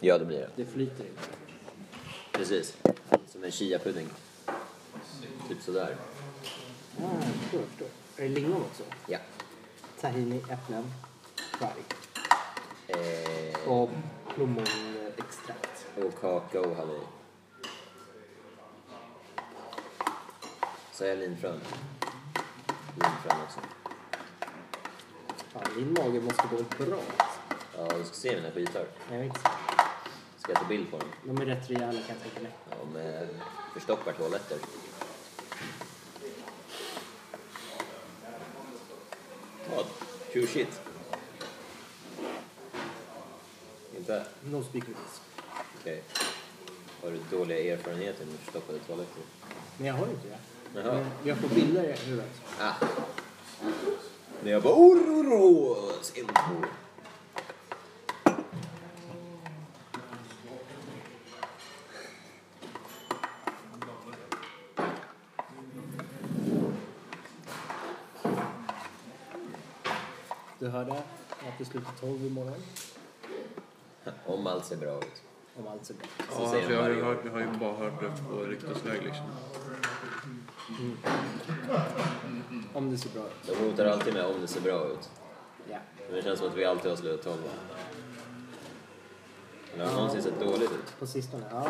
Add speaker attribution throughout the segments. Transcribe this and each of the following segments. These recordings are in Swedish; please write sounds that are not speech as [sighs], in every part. Speaker 1: Ja, det blir det.
Speaker 2: Det flyter inte.
Speaker 1: Precis. Som en chiapudding. Typ sådär.
Speaker 2: Ah, förstår, förstår. Är det lingon också?
Speaker 1: Ja.
Speaker 2: Tahini, äpplen, färg
Speaker 1: Eh,
Speaker 2: och plommonextrakt.
Speaker 1: och kakao hade vi. Så jag linfrön. Linfrön också.
Speaker 2: Fan, din mage måste gå bra. alltså.
Speaker 1: Ja, du ska se mina skitar.
Speaker 2: Jag vet inte.
Speaker 1: Ska jag ta bild på dem?
Speaker 2: De är rätt rejäla kan jag tänka mig.
Speaker 1: De eh, förstoppar toaletter. Vad? Cool shit. Inte?
Speaker 2: No speaker this.
Speaker 1: Okej. Har du dåliga erfarenheter med förstoppade toaletter?
Speaker 2: Men jag har ju inte det.
Speaker 1: Jaha.
Speaker 2: Men jag får bilder i huvudet.
Speaker 1: Ah. När jag bara Orros intro.
Speaker 2: Du hörde att det slutar 12 imorgon.
Speaker 1: Om allt ser bra ut.
Speaker 2: Om allt ser bra ut.
Speaker 1: Så
Speaker 3: Ja,
Speaker 1: säger
Speaker 3: alltså,
Speaker 1: de
Speaker 3: jag, har
Speaker 1: varje
Speaker 3: ju
Speaker 1: år.
Speaker 3: hört, jag har ju bara hört det på ryktesväg liksom.
Speaker 2: Om det ser bra ut.
Speaker 1: De hotar alltid med om det ser bra ut.
Speaker 2: Ja.
Speaker 1: Men det känns som att vi alltid har slutat tolva. Eller har det någonsin sett dåligt ut?
Speaker 2: På sistone, ja.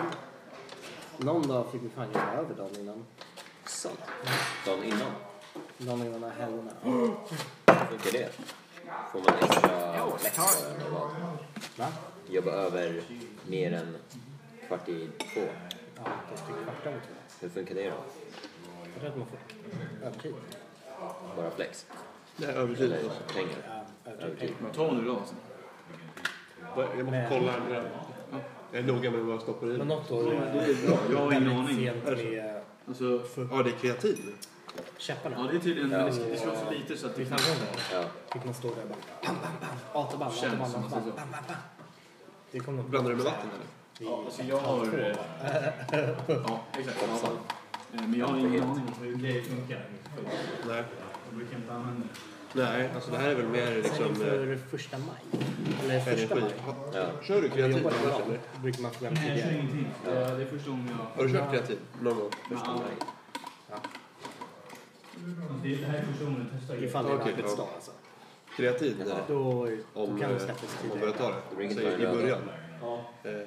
Speaker 2: Någon dag fick vi fan göra över dagen innan.
Speaker 1: Sant. Dagen innan.
Speaker 2: Någon innan de här helgerna.
Speaker 1: Hur funkar det? Får man extra flex bara, eller vad?
Speaker 2: Va?
Speaker 1: Jobba över mer än kvart i två.
Speaker 2: Ja, kanske kvart över tror jag.
Speaker 1: Hur funkar det då?
Speaker 2: Jag tror att man får övertid.
Speaker 1: Bara flex?
Speaker 3: Det är övertid
Speaker 1: Eller
Speaker 3: alltså.
Speaker 1: pengar?
Speaker 2: Ja, övertid.
Speaker 3: Ta nu då alltså. Jag måste
Speaker 2: Nej.
Speaker 3: kolla här. med- Jag är noga med vad jag stoppar i.
Speaker 2: Men något år...
Speaker 4: Jag har ingen aning.
Speaker 2: Sent med eh,
Speaker 4: Alltså,
Speaker 3: Ja, det är kreativ.
Speaker 2: käpparna.
Speaker 4: ja, det är tydligen...
Speaker 1: Ja.
Speaker 4: Det ska- det ska vara så lite så att det
Speaker 2: Vi
Speaker 4: kan...
Speaker 2: kan gå där.
Speaker 1: Ja.
Speaker 2: Fick man stå där och bara bam, bam, bam. Autobahn,
Speaker 4: Känns
Speaker 2: autobahn,
Speaker 4: som att det är
Speaker 2: autobahn.
Speaker 4: så.
Speaker 2: Bam, bam, bam. Det kommer nog-
Speaker 3: Blandar du med vatten eller?
Speaker 4: Ja, alltså jag har... eh, [laughs] Ja, exakt. Ja. Eh, Men jag har ingen aning om hur det funkar.
Speaker 3: Nej.
Speaker 4: Jag brukar inte använda det.
Speaker 3: Nej, alltså det här är väl mer liksom
Speaker 2: Sen
Speaker 3: eh,
Speaker 2: inför första maj. Eller första
Speaker 3: energi. typ
Speaker 2: maj.
Speaker 1: Ja.
Speaker 3: Ha- Kör du
Speaker 2: Jag
Speaker 3: kreativ?
Speaker 2: jobbar
Speaker 3: annars,
Speaker 2: där
Speaker 3: eller?
Speaker 2: ibland. Brukar man få hem
Speaker 4: Nej, jag kör
Speaker 2: tidigare.
Speaker 4: ingenting. Det är det är första gången jag...
Speaker 3: Har du kört kreativ någon gång?
Speaker 1: Första
Speaker 4: Ja.
Speaker 1: maj.
Speaker 4: Det här är första gången jag testar.
Speaker 2: Ifall det är en
Speaker 3: Okej,
Speaker 2: arbetsdag
Speaker 3: ja.
Speaker 2: alltså.
Speaker 3: Kreativ? Nej.
Speaker 2: Då, då
Speaker 3: Om,
Speaker 2: kan det
Speaker 3: eh,
Speaker 2: släppas
Speaker 3: om man börjar
Speaker 2: tidigare.
Speaker 3: ta
Speaker 1: Det blir
Speaker 3: det.
Speaker 1: inget
Speaker 3: Säg i
Speaker 1: början.
Speaker 3: början.
Speaker 2: Ja,
Speaker 3: Eh,
Speaker 2: ja,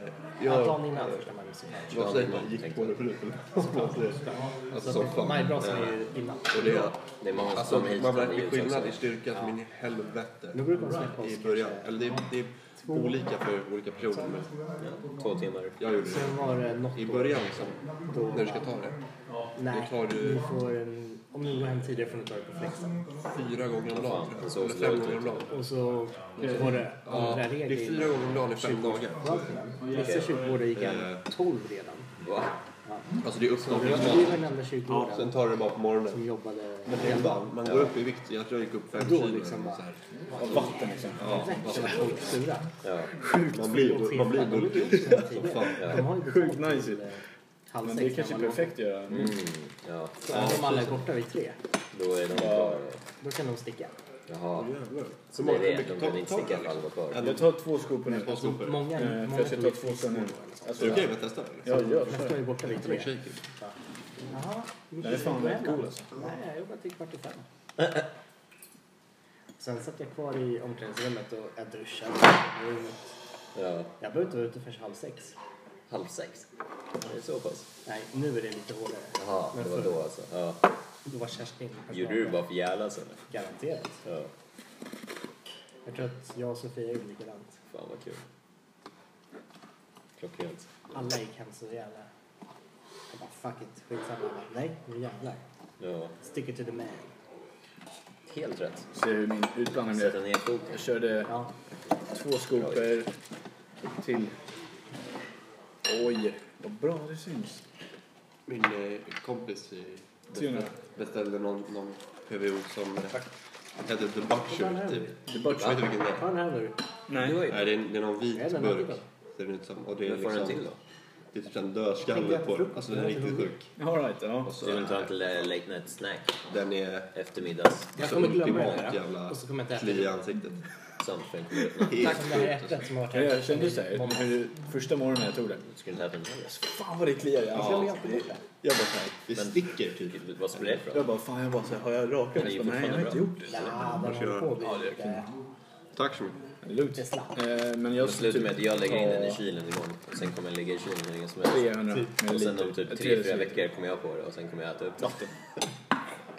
Speaker 3: Jag,
Speaker 2: dagen innan första maj. måste jag
Speaker 3: vad säger man? Gick på det förut? [laughs] Alltså som
Speaker 2: säga.
Speaker 3: fan.
Speaker 2: Majbrasan är
Speaker 3: Eh,
Speaker 2: ju innan.
Speaker 3: Och det,
Speaker 1: Det är många som
Speaker 3: alltså,
Speaker 1: kommer hit
Speaker 3: man
Speaker 1: från
Speaker 3: märker
Speaker 1: ljus
Speaker 3: skillnad
Speaker 1: också.
Speaker 3: i styrka som in i helvete.
Speaker 2: Nu brukar man snacka
Speaker 3: I
Speaker 2: oss
Speaker 3: början.
Speaker 2: kanske.
Speaker 3: Eller det är, det är olika för olika perioder. Men
Speaker 1: Ja. Två timmar.
Speaker 3: jag gjorde det.
Speaker 2: Sen var det något
Speaker 3: I
Speaker 2: år
Speaker 3: början sen,
Speaker 2: då
Speaker 3: när du ska
Speaker 2: bara,
Speaker 3: ta det.
Speaker 2: Nej,
Speaker 3: då tar du-
Speaker 2: ni får en, om ni går hem tidigare får ni ta det på flexen.
Speaker 3: Fyra gånger om dagen
Speaker 1: Fan,
Speaker 3: tror
Speaker 1: så
Speaker 3: jag.
Speaker 1: ser
Speaker 3: Eller
Speaker 1: det
Speaker 3: fem
Speaker 1: ut.
Speaker 3: gånger om dagen.
Speaker 2: Och så var det
Speaker 3: Ja,
Speaker 2: andra
Speaker 3: det
Speaker 2: regler.
Speaker 3: är fyra gånger om dagen i fem dagar.
Speaker 2: gånger. Vissa kyrkogårdar gick
Speaker 3: Eh.
Speaker 2: han 12 redan.
Speaker 1: Va?
Speaker 3: Alltså det är
Speaker 2: Det var det var
Speaker 3: uppstartningsmat.
Speaker 2: den enda
Speaker 3: Sen
Speaker 2: kyrkogården
Speaker 3: tar du det bara på morgonen.
Speaker 2: som jobbade
Speaker 3: Men det är bara, man går upp i vikt. Jag tror jag gick upp fem
Speaker 2: Då
Speaker 3: kilo. eller
Speaker 2: liksom bara-
Speaker 3: så här.
Speaker 5: Vatten liksom.
Speaker 3: Ja,
Speaker 2: Så var folk sura.
Speaker 1: Ja.
Speaker 3: man blir, man blir
Speaker 2: De ligger
Speaker 3: bulkig.
Speaker 2: också där
Speaker 3: Som fan.
Speaker 2: tidigare. De har ju betalt
Speaker 5: Sjukt
Speaker 2: till,
Speaker 5: nice.
Speaker 2: eh, Halv
Speaker 5: Men det är
Speaker 2: sex
Speaker 5: kanske
Speaker 2: när man
Speaker 5: perfekt att göra.
Speaker 1: Mm. Ja.
Speaker 2: Så även om alla är borta vid tre,
Speaker 1: Då är de kvar.
Speaker 2: då kan de sticka.
Speaker 1: Jaha.
Speaker 3: Jävlar.
Speaker 1: Så det är det.
Speaker 3: mycket
Speaker 1: De
Speaker 3: tar-
Speaker 1: kunde inte
Speaker 3: tar
Speaker 1: sticka
Speaker 3: du,
Speaker 1: ifall de var kvar.
Speaker 5: Jag tar två skopor nu.
Speaker 3: Två
Speaker 5: Eh,
Speaker 3: skopor. Är
Speaker 2: Många, många
Speaker 5: För jag ska ta
Speaker 2: tog
Speaker 5: två sen nu. Alltså,
Speaker 3: det okej
Speaker 5: ja,
Speaker 3: med att testa? eller?
Speaker 5: jag gör
Speaker 2: Men de är
Speaker 5: det.
Speaker 2: ju borta vid tre.
Speaker 3: Shaker.
Speaker 2: Jaha, gick
Speaker 5: Den är
Speaker 2: du
Speaker 5: fan
Speaker 2: på
Speaker 5: rätt
Speaker 2: Ellen?
Speaker 5: cool alltså.
Speaker 2: Nej, jag jobbade till kvart i fem. [laughs] Sen satt jag kvar i omklädningsrummet och jag duschade.
Speaker 1: Ja.
Speaker 2: Jag behöver inte vara ute förrän halv sex.
Speaker 1: Halv sex. Det är så pass.
Speaker 2: Nej, nu är det lite hårdare.
Speaker 1: Jaha, det var då alltså. Ja.
Speaker 2: Då var Kerstin
Speaker 1: Gjorde du det bara för jävlas eller?
Speaker 2: Garanterat.
Speaker 1: Ja.
Speaker 2: Jag tror att jag och Sofia gjorde likadant.
Speaker 1: Fan vad kul. Klockrent.
Speaker 2: Alla gick hem så jävla... Jag bara fuck it, skitsamma. Jag bara, Nej, nu jävlar.
Speaker 1: Ja.
Speaker 2: Stick it to the man.
Speaker 1: Helt rätt.
Speaker 5: Se hur min utblandning
Speaker 1: Sätta
Speaker 5: blev.
Speaker 1: ner foten.
Speaker 5: Jag körde
Speaker 2: Ja,
Speaker 5: två skopor till. Oj, vad bra det syns.
Speaker 3: Min eh, kompis i-
Speaker 5: Tjena.
Speaker 3: beställde någon, någon PVO som eh, hette The Butcher. Typ. Jag
Speaker 5: Det
Speaker 3: vet
Speaker 5: bara
Speaker 3: inte vilken det är.
Speaker 2: ta den här nu.
Speaker 5: Nej.
Speaker 3: Nej, det är, det är någon vit
Speaker 2: Är det den här
Speaker 3: burk.
Speaker 2: typen?
Speaker 3: Ser det ut som. Och det är
Speaker 1: Hur får den till
Speaker 3: liksom,
Speaker 1: då?
Speaker 3: det är typ en
Speaker 2: Tänkte
Speaker 3: dödskalle
Speaker 2: jag
Speaker 3: på den.
Speaker 2: frukost.
Speaker 3: Alltså den är
Speaker 2: Mm.
Speaker 3: riktigt sjuk.
Speaker 5: All right, ja.
Speaker 3: Och så
Speaker 1: Du vill ta en
Speaker 3: är
Speaker 1: till eh, late night snack?
Speaker 3: den är
Speaker 1: Eftermiddags.
Speaker 2: Jag
Speaker 3: så
Speaker 2: kommer glömma
Speaker 3: ultimat
Speaker 2: den här.
Speaker 3: jävla
Speaker 2: Och så kommer jag inte äta
Speaker 3: kli i
Speaker 2: det.
Speaker 3: ansiktet.
Speaker 1: tacksamt för en kommentar.
Speaker 2: Tack för ärten som har varit
Speaker 5: Jag
Speaker 2: här.
Speaker 5: kände såhär, hur, första morgonen jag tog den.
Speaker 1: Skulle det här hända?
Speaker 5: Fan vad det kliar i
Speaker 2: Jag
Speaker 5: ansiktet.
Speaker 2: lever på det.
Speaker 3: Jag bara såhär, det
Speaker 1: Men-
Speaker 3: sticker typ.
Speaker 1: Vad skulle det ifrån?
Speaker 5: Jag bara, fan jag bara såhär, har jag rakat
Speaker 1: Men det är ju
Speaker 5: mig? Nej jag har inte
Speaker 1: fortfarande
Speaker 5: gjort det.
Speaker 2: Ja, den håller på att bli lite,
Speaker 3: Tack så mycket.
Speaker 5: Lugnt.
Speaker 2: lite slapp.
Speaker 5: Eh, Men
Speaker 1: Det
Speaker 5: jag
Speaker 1: slutar med att jag lägger in den i
Speaker 5: Ja.
Speaker 1: kylen imorgon. Och sen kommer jag lägga i kylen hur länge som helst.
Speaker 5: 300 med
Speaker 1: Och sen
Speaker 5: lite-
Speaker 1: om
Speaker 5: eh,
Speaker 1: typ tre fyra
Speaker 5: 300.
Speaker 1: veckor kommer jag på det och sen kommer jag äta upp det.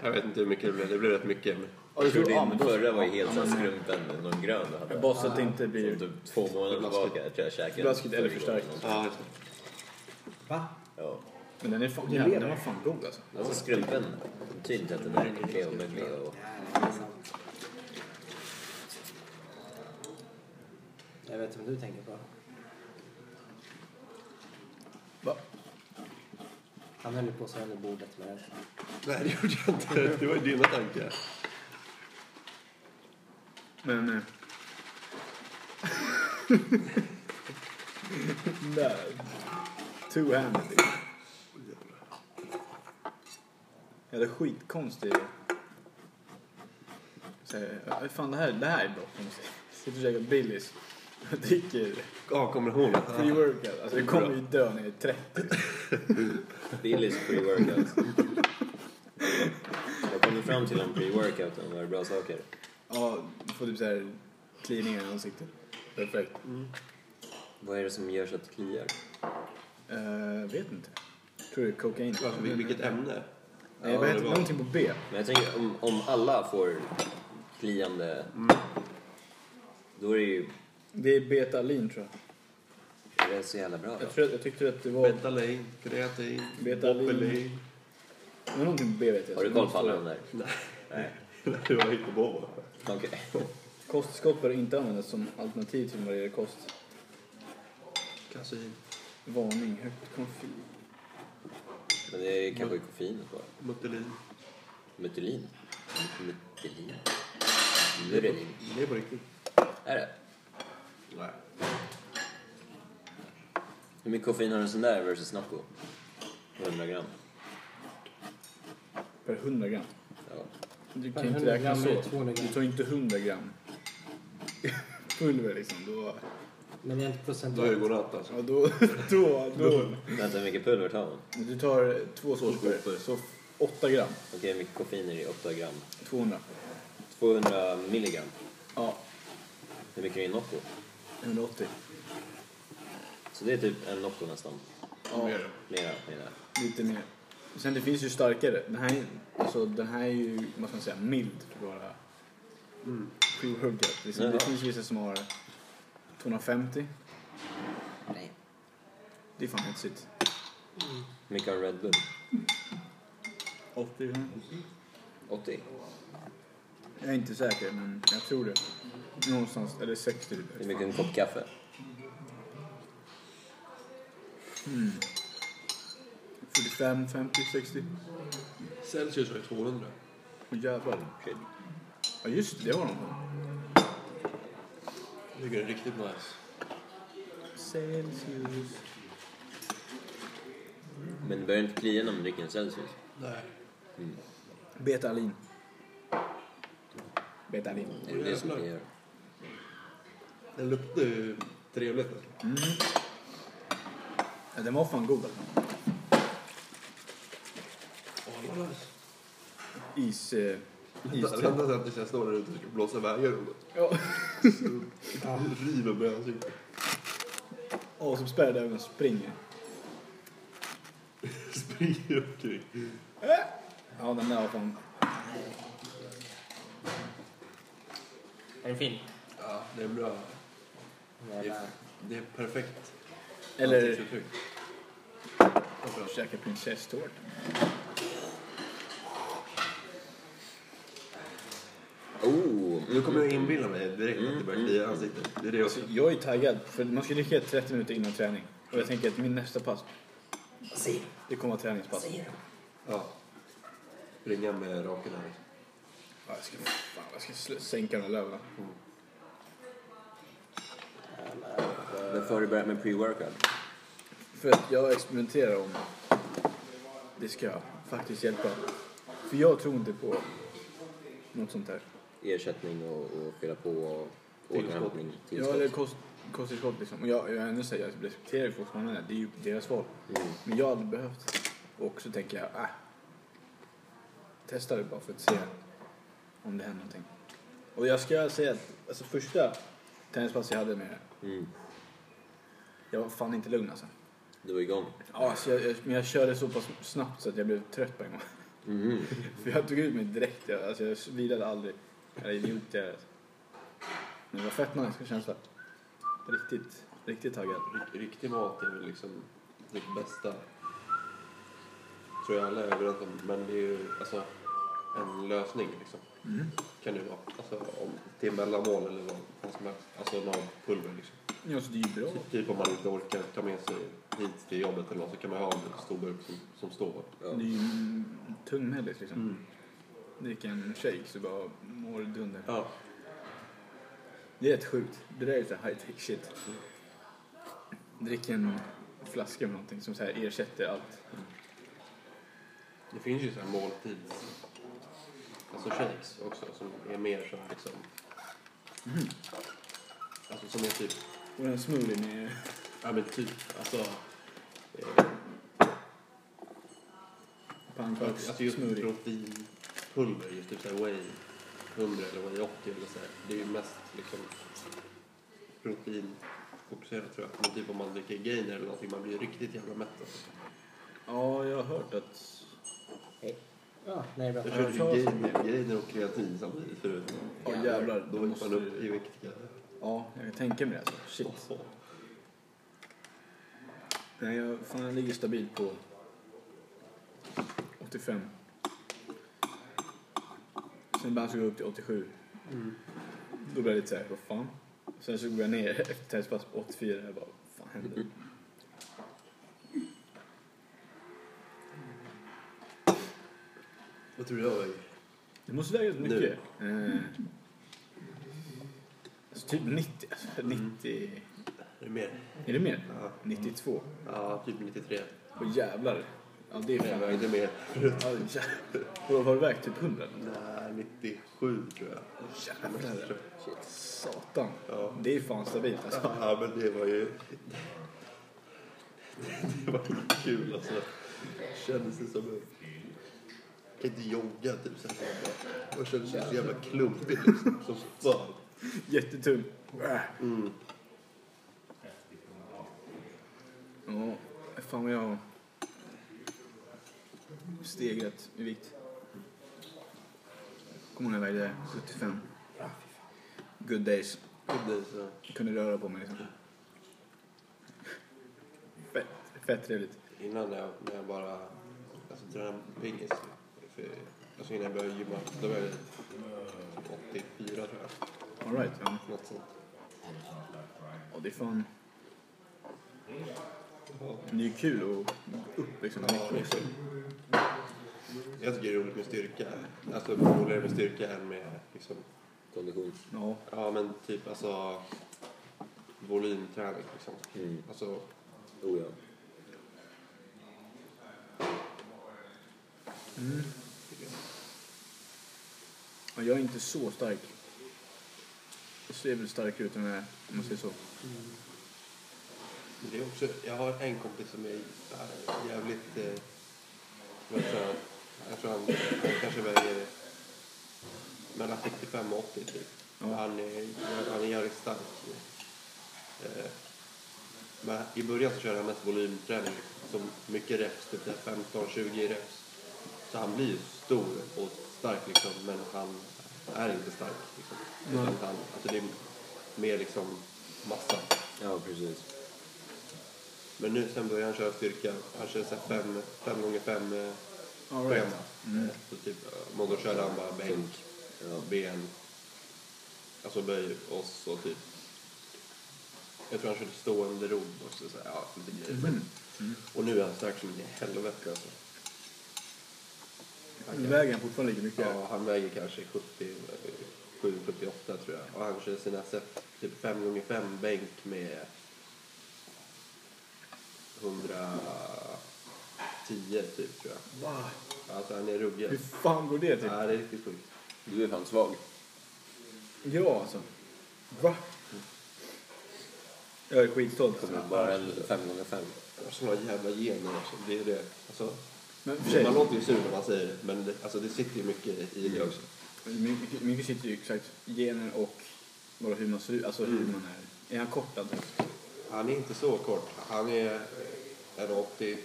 Speaker 3: Jag vet inte hur mycket det blev. Det blev rätt mycket. Men...
Speaker 5: Ja, det
Speaker 1: Jag tror din
Speaker 5: tror
Speaker 1: förra var ju helt såhär skrumpen, någon grön du hade.
Speaker 5: jag. Bara så att det inte
Speaker 1: Som
Speaker 5: blir...
Speaker 1: typ två månader tillbaka tror jag jag käkade.
Speaker 5: Blaskigt eller
Speaker 1: förra
Speaker 5: förstärkt.
Speaker 1: gången.
Speaker 3: Ja, just det.
Speaker 2: Va?
Speaker 1: Ja.
Speaker 5: Men den är fan,
Speaker 2: Det
Speaker 5: jävlar,
Speaker 2: lever.
Speaker 5: den var fan god alltså.
Speaker 1: Alltså skrumpen betyder inte att den är äcklig och möglig och...
Speaker 2: Nej, det är liksom- sant. Jag vet vad du tänker på.
Speaker 5: Va?
Speaker 2: Han höll ju på så här under bordet med det.
Speaker 3: Nej, det gjorde jag inte. Det var ju dina tankar.
Speaker 5: Men... eh, [laughs] Nej. Two-handed. Jag hade skitkonstig... Så här, "Ja, Fan det här, det här är bra konstigt. Sitter och käkar Billys. Jag dricker
Speaker 3: Ja, kommer hon?
Speaker 5: pre-workout. Alltså jag kommer ju dö när jag är 30.
Speaker 1: Billys pre-workout. Jag kommer fram till om pre-workouten var bra saker.
Speaker 5: Ja, får typ såhär kliningar i ansiktet. Perfekt.
Speaker 1: Vad är det som gör så att det kliar?
Speaker 5: Eh, vet inte. Tror det är kokain.
Speaker 3: Alltså, vil- vilket ämne?
Speaker 5: Nej, vad heter det? Någonting på B.
Speaker 1: Men jag tänker om, om alla får kliande...
Speaker 5: Mm.
Speaker 1: Då är det ju...
Speaker 5: Det är betalin tror jag.
Speaker 1: Är det så jävla bra då?
Speaker 5: Jag, tror, jag tyckte att det var...
Speaker 3: Betalin, kreatin,
Speaker 5: Betalin.
Speaker 3: Boppelin.
Speaker 5: Det var någonting på B vet jag.
Speaker 1: Har du koll på alla de där?
Speaker 3: Nej, [laughs] Det var inte på.
Speaker 1: Okej.
Speaker 5: Kosttillskott bör inte användas som alternativ till varierad kost.
Speaker 3: Kasin,
Speaker 5: Varning, högt konfit.
Speaker 1: Men det är kanske koffeinet bara.
Speaker 3: Muttelin.
Speaker 1: Metylin? Metylin? Myrelin?
Speaker 3: Det är på riktigt.
Speaker 1: Är det?
Speaker 3: Nej.
Speaker 1: Hur mycket koffein har en sån där versus Nocco? 100 gram.
Speaker 5: Per 100 gram.
Speaker 1: Ja.
Speaker 5: Du
Speaker 2: Per
Speaker 5: kan ju inte
Speaker 2: 100
Speaker 5: räkna
Speaker 2: gram är det
Speaker 5: så.
Speaker 2: 200 gram.
Speaker 5: Du tar ju inte 100 gram [laughs] pulver liksom. Då,
Speaker 2: Men det är inte
Speaker 3: Då är det
Speaker 2: procentuellt.
Speaker 3: godnatt alltså.
Speaker 5: ja, då, [laughs] då, då.
Speaker 1: Vänta, hur mycket pulver tar man?
Speaker 5: Du tar två såsskopor, så 8 gram.
Speaker 1: Okej, hur mycket koffein är det i 8 gram?
Speaker 5: 200.
Speaker 1: 200 milligram.
Speaker 5: Ja,
Speaker 1: Hur mycket är det i Nocco?
Speaker 5: 180.
Speaker 1: Så det är typ en Nocco nästan.
Speaker 5: Ja,
Speaker 1: Mera, menar jag.
Speaker 5: lite mer. Sen det finns ju starkare. Den här, alltså, den här är ju, vad ska man säga, mild för att vara pre-workout. Liksom.
Speaker 1: Ja.
Speaker 5: Det finns vissa som har 250.
Speaker 1: Nej.
Speaker 5: Det är fan hetsigt.
Speaker 1: Hur mycket har en Red Bull?
Speaker 5: 80
Speaker 1: 80?
Speaker 5: Jag är inte säker, men jag tror det. Någonstans, eller 60 typ.
Speaker 1: Hur mycket är en kopp kaffe?
Speaker 5: Mm. 45, 50, 60.
Speaker 3: Celsius har ju 200.
Speaker 5: Åh jävlar.
Speaker 1: Shit.
Speaker 5: Ja just det, det var de.
Speaker 3: Jag tycker det är riktigt nice.
Speaker 5: Celsius.
Speaker 1: Men det börjar inte klia när man dricker en Celsius.
Speaker 3: Nej.
Speaker 5: Betalin. Betalin.
Speaker 1: Är det det som kliar?
Speaker 3: Den luktar ju trevligt. alltså.
Speaker 5: Ja, den var fan god alltså.
Speaker 3: Åh, vad nice.
Speaker 5: Is... Eh,
Speaker 3: Vänta
Speaker 5: iste.
Speaker 3: vänta sen tills jag står där ute och ska blåsa iväg genom [laughs]
Speaker 5: Ja.
Speaker 3: det. River mig i ansiktet.
Speaker 5: Och så spärrade ögonen och springer.
Speaker 3: Springer omkring.
Speaker 5: Ja, den där var fan...
Speaker 2: Är den fin?
Speaker 3: Ja, det är bra. Det
Speaker 2: Jävla-
Speaker 3: är, det är perfekt.
Speaker 5: Eller
Speaker 3: ansiktsuttryck.
Speaker 5: käka prinsesstårta.
Speaker 1: Oh!
Speaker 3: Nu kommer jag inbilla mig direkt att det börjar klia i ansiktet. Det är det också.
Speaker 5: Så jag är taggad, för man ska dricka 30 minuter innan träning. Och jag tänker att min nästa pass,
Speaker 2: Vad säger du?
Speaker 5: det kommer vara
Speaker 2: Vad
Speaker 5: träningspass.
Speaker 2: säger du?
Speaker 3: Ja. Ringa med raken här.
Speaker 5: Ja, jag ska, fan, jag ska sl- sänka de där löven.
Speaker 1: Varför har du börjat med pre-workout?
Speaker 5: För att jag experimenterar om det ska faktiskt hjälpa. För jag tror inte på något sånt här.
Speaker 1: Ersättning och, och fylla på och Återhämtning,
Speaker 5: Ja,
Speaker 1: tillskott.
Speaker 5: eller kost, kosttillskott liksom. Och jag, jag ändå säger, jag respekterar ju fortfarande det. Det är ju deras val.
Speaker 1: Mm.
Speaker 5: Men jag hade behövt. Och så tänker jag, äh. Testa det bara för att se om det händer någonting. Och jag ska säga att alltså, första tennispass jag hade med
Speaker 1: Mm.
Speaker 5: jag var fan inte lugn alltså.
Speaker 1: Du var igång.
Speaker 5: Ja, så jag, jag, men jag körde så pass snabbt så att jag blev trött på en gång. [laughs]
Speaker 1: Mhm.
Speaker 5: För jag tog ut mig direkt. Jag, alltså, jag vilade aldrig. Jag är idiot jag är. Men det var fett nice känsla. Riktigt, riktigt taggad.
Speaker 3: Rik- Riktig mat är väl liksom det bästa. Tror jag alla är överens om. Men det är ju alltså en lösning liksom. Kan det vara. Alltså om till mellanmål eller vad vad som helst. Alltså någon pulver liksom.
Speaker 5: Ja, så det är ju bra.
Speaker 3: Typ om man inte orkar ta med sig hit till jobbet eller något så kan man ha en stor burk som, som står.
Speaker 1: Ja.
Speaker 5: Det är ju mm, tungmedlet liksom.
Speaker 3: Mm.
Speaker 5: Dricka en shake så bara mår dunder.
Speaker 3: Ja.
Speaker 5: Det är rätt sjukt. Det där är lite high tech shit. Drick en flaska med någonting som så här ersätter allt.
Speaker 3: Det finns ju så här måltids... Alltså shakes också som är mer som liksom...
Speaker 5: Mm.
Speaker 3: Alltså som är typ...
Speaker 5: Och den smoothien är...
Speaker 3: Ja men typ alltså... eh, Alltså just
Speaker 5: Pannkakssmoothie.
Speaker 3: proteinpulver, just typ såhär whey 100 eller whey 80 eller såhär. Det är ju mest liksom proteinfokuserat tror jag. Men typ om man dricker gainer eller någonting, man blir ju riktigt jävla mätt alltså.
Speaker 5: Ja, jag har hört att...
Speaker 2: Ja, nej, bra.
Speaker 3: Jag
Speaker 5: Ja,
Speaker 3: körde
Speaker 5: jag
Speaker 3: ju
Speaker 5: sa
Speaker 3: gainer, gainer och kreatin samtidigt förut.
Speaker 5: Ja jävlar,
Speaker 3: Då
Speaker 5: då
Speaker 3: gick
Speaker 5: måste
Speaker 3: man upp i
Speaker 5: du...
Speaker 3: vikt. kanske.
Speaker 5: Ja, jag kan tänka mig det alltså. Shit.
Speaker 3: Så.
Speaker 5: Nej, jag, fan, jag ligger stabilt på 85. Sen ibland så går jag upp till 87. Då blir jag lite såhär, vad fan? Sen så går jag ner [laughs] efter tennispass på 84. Jag bara, vad fan händer?
Speaker 3: Vad tror du jag väger?
Speaker 5: Det måste väga rätt mycket. Eh, alltså typ 90. Alltså, 90.
Speaker 3: Är det mer?
Speaker 5: Är det mer?
Speaker 3: Ja,
Speaker 5: 92.
Speaker 3: ja typ 93.
Speaker 5: Åh jävlar. Ja, det är
Speaker 3: Jag
Speaker 5: fan...
Speaker 3: vägde mer förut.
Speaker 5: Ja, jävlar. Har har du vägt typ 100?
Speaker 3: Nej, 97 tror jag.
Speaker 5: Jävlar. Satan.
Speaker 3: Ja.
Speaker 5: Det är fan stabilt alltså.
Speaker 3: Ja, men det var ju... Det var ju kul alltså. Kändes det som en... Jag kan inte jogga typ så här. Jag kändes så jävla klumpig liksom. Som fan.
Speaker 5: Jättetunn. Mm. Ja, fan vad jag har stegrat i vikt. Kommer ihåg när jag vägde 75. Good days.
Speaker 3: Det är så-
Speaker 5: Jag kunde röra på mig liksom. Fett, fett trevligt.
Speaker 3: Innan när jag, när jag bara alltså, tränade pingis, för, alltså innan jag började gymma, då var jag typ 84 tror jag.
Speaker 5: Alright, ja.
Speaker 3: Något sånt.
Speaker 5: ja. Det är fan... Det är ju kul att upp liksom.
Speaker 3: Ja, liksom. Jag tycker det är roligt med styrka. Alltså roligare med styrka än med liksom,
Speaker 1: Kondition.
Speaker 5: Ja,
Speaker 3: ja men typ alltså volymträning liksom.
Speaker 1: Mm.
Speaker 3: Alltså,
Speaker 1: Oh ja.
Speaker 5: Ja, jag är inte så stark. Jag ser väl starkare ut än jag är, om man säger så.
Speaker 3: men det är också, jag har en kompis som är äh, jävligt, eh, vad tror jag, jag tror han, han kanske väger mellan 65 och 80 typ.
Speaker 5: Ja.
Speaker 3: Han, är, han är jävligt stark. Eh, men i början så körde han mest volymträning, som mycket reps, typ så här 15-20 reps. Så han blir ju stor och stark liksom, men han är inte stark. Liksom. Utan han, alltså det är mer liksom massa.
Speaker 1: Ja, precis.
Speaker 3: Men nu sen börjar han köra styrka. Han kör så här fem, fem gånger fem eh,
Speaker 5: All
Speaker 3: schema. Eh, Så typ, eh, måndag körde han bara bänk eh,
Speaker 1: Ja.
Speaker 3: ben, alltså böj och så typ. Jag tror han körde stående rodd och så, så här, ja, lite
Speaker 5: Mm.
Speaker 3: grejer. Men, och nu är han stark som i helvete alltså. Han, kan,
Speaker 5: Vägen fortfarande lika mycket.
Speaker 3: ja, han väger kanske 77, 78 tror jag. Och han kör sina set, typ 5 gånger 5 bänk med 110 typ tror jag.
Speaker 5: Va?
Speaker 3: Alltså han är
Speaker 5: Hur
Speaker 3: ruggig.
Speaker 5: fan går det till?
Speaker 3: Ja, det är riktigt sjukt.
Speaker 1: Du är fan svag.
Speaker 5: Ja, alltså. Va? Jag är skitstolt.
Speaker 1: Kommer bara en 5x5.
Speaker 3: Sådana jävla gener. alltså. Det är det. Alltså,
Speaker 5: Men för
Speaker 3: man
Speaker 5: sig,
Speaker 3: låter ju sur när man säger det, men det, alltså, det sitter ju mycket i det också.
Speaker 5: mycket, mycket sitter ju exakt gener och bara hur man ser ut, alltså hur man är. Är han Alltså, kortad?
Speaker 3: Han är inte så kort. Han är en 80, eh,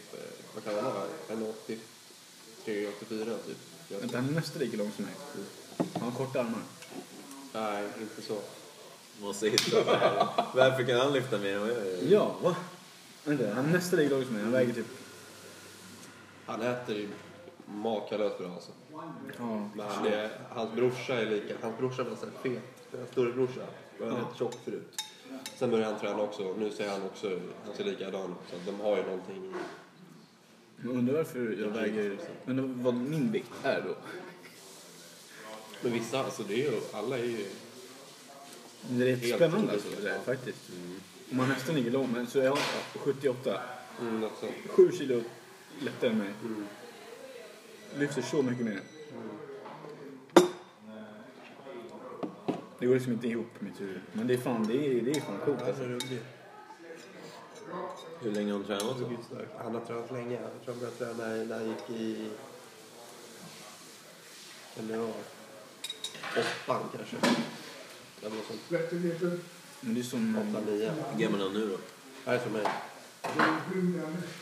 Speaker 3: vad kan han vara? En 83, 84 typ. Jag-
Speaker 5: Vänta, han är nästan lika lång som mig. Han har korta armar.
Speaker 3: Nej, inte så.
Speaker 1: Måste hitta det här. [laughs] Varför kan han lyfta mer än vad jag gör?
Speaker 5: Ja, va? Vänta, han är nästan lika lång som mig. Han väger typ...
Speaker 3: Han äter ju makalöst bra alltså.
Speaker 5: Ja.
Speaker 3: Men han är, hans brorsa är lika. Hans brorsa var så här fet. Hans storebrorsa var
Speaker 5: Ja.
Speaker 3: rätt tjock förut. Sen började han träna också. Nu ser han också, han ser likadan ut. Så att de har ju någonting. i-
Speaker 5: Men undrar varför jag väger... Undrar vad min vikt är då?
Speaker 3: Men vissa, alltså det är ju, alla är ju...
Speaker 5: Men Det är rätt
Speaker 3: Helt
Speaker 5: spännande
Speaker 3: otroligt,
Speaker 5: alltså, det där,
Speaker 3: ja.
Speaker 5: faktiskt. Om Mm. man nästan ligger lång, men så är han 78.
Speaker 3: Mm, något sånt.
Speaker 5: 7 kilo lättare än mig. Lyfter så mycket mer. Mm. Det går liksom inte ihop i mitt huvud. Men det är fan, det är, det är fan coolt alltså.
Speaker 1: Hur länge har han tränat så?
Speaker 3: Han har tränat länge. Jag tror han började träna när han gick i januari. Åttan kanske. Eller något sånt.
Speaker 5: Men det är som...
Speaker 3: Åtta, nio.
Speaker 1: Hur gammal är han nu då?
Speaker 3: Nej, som mig.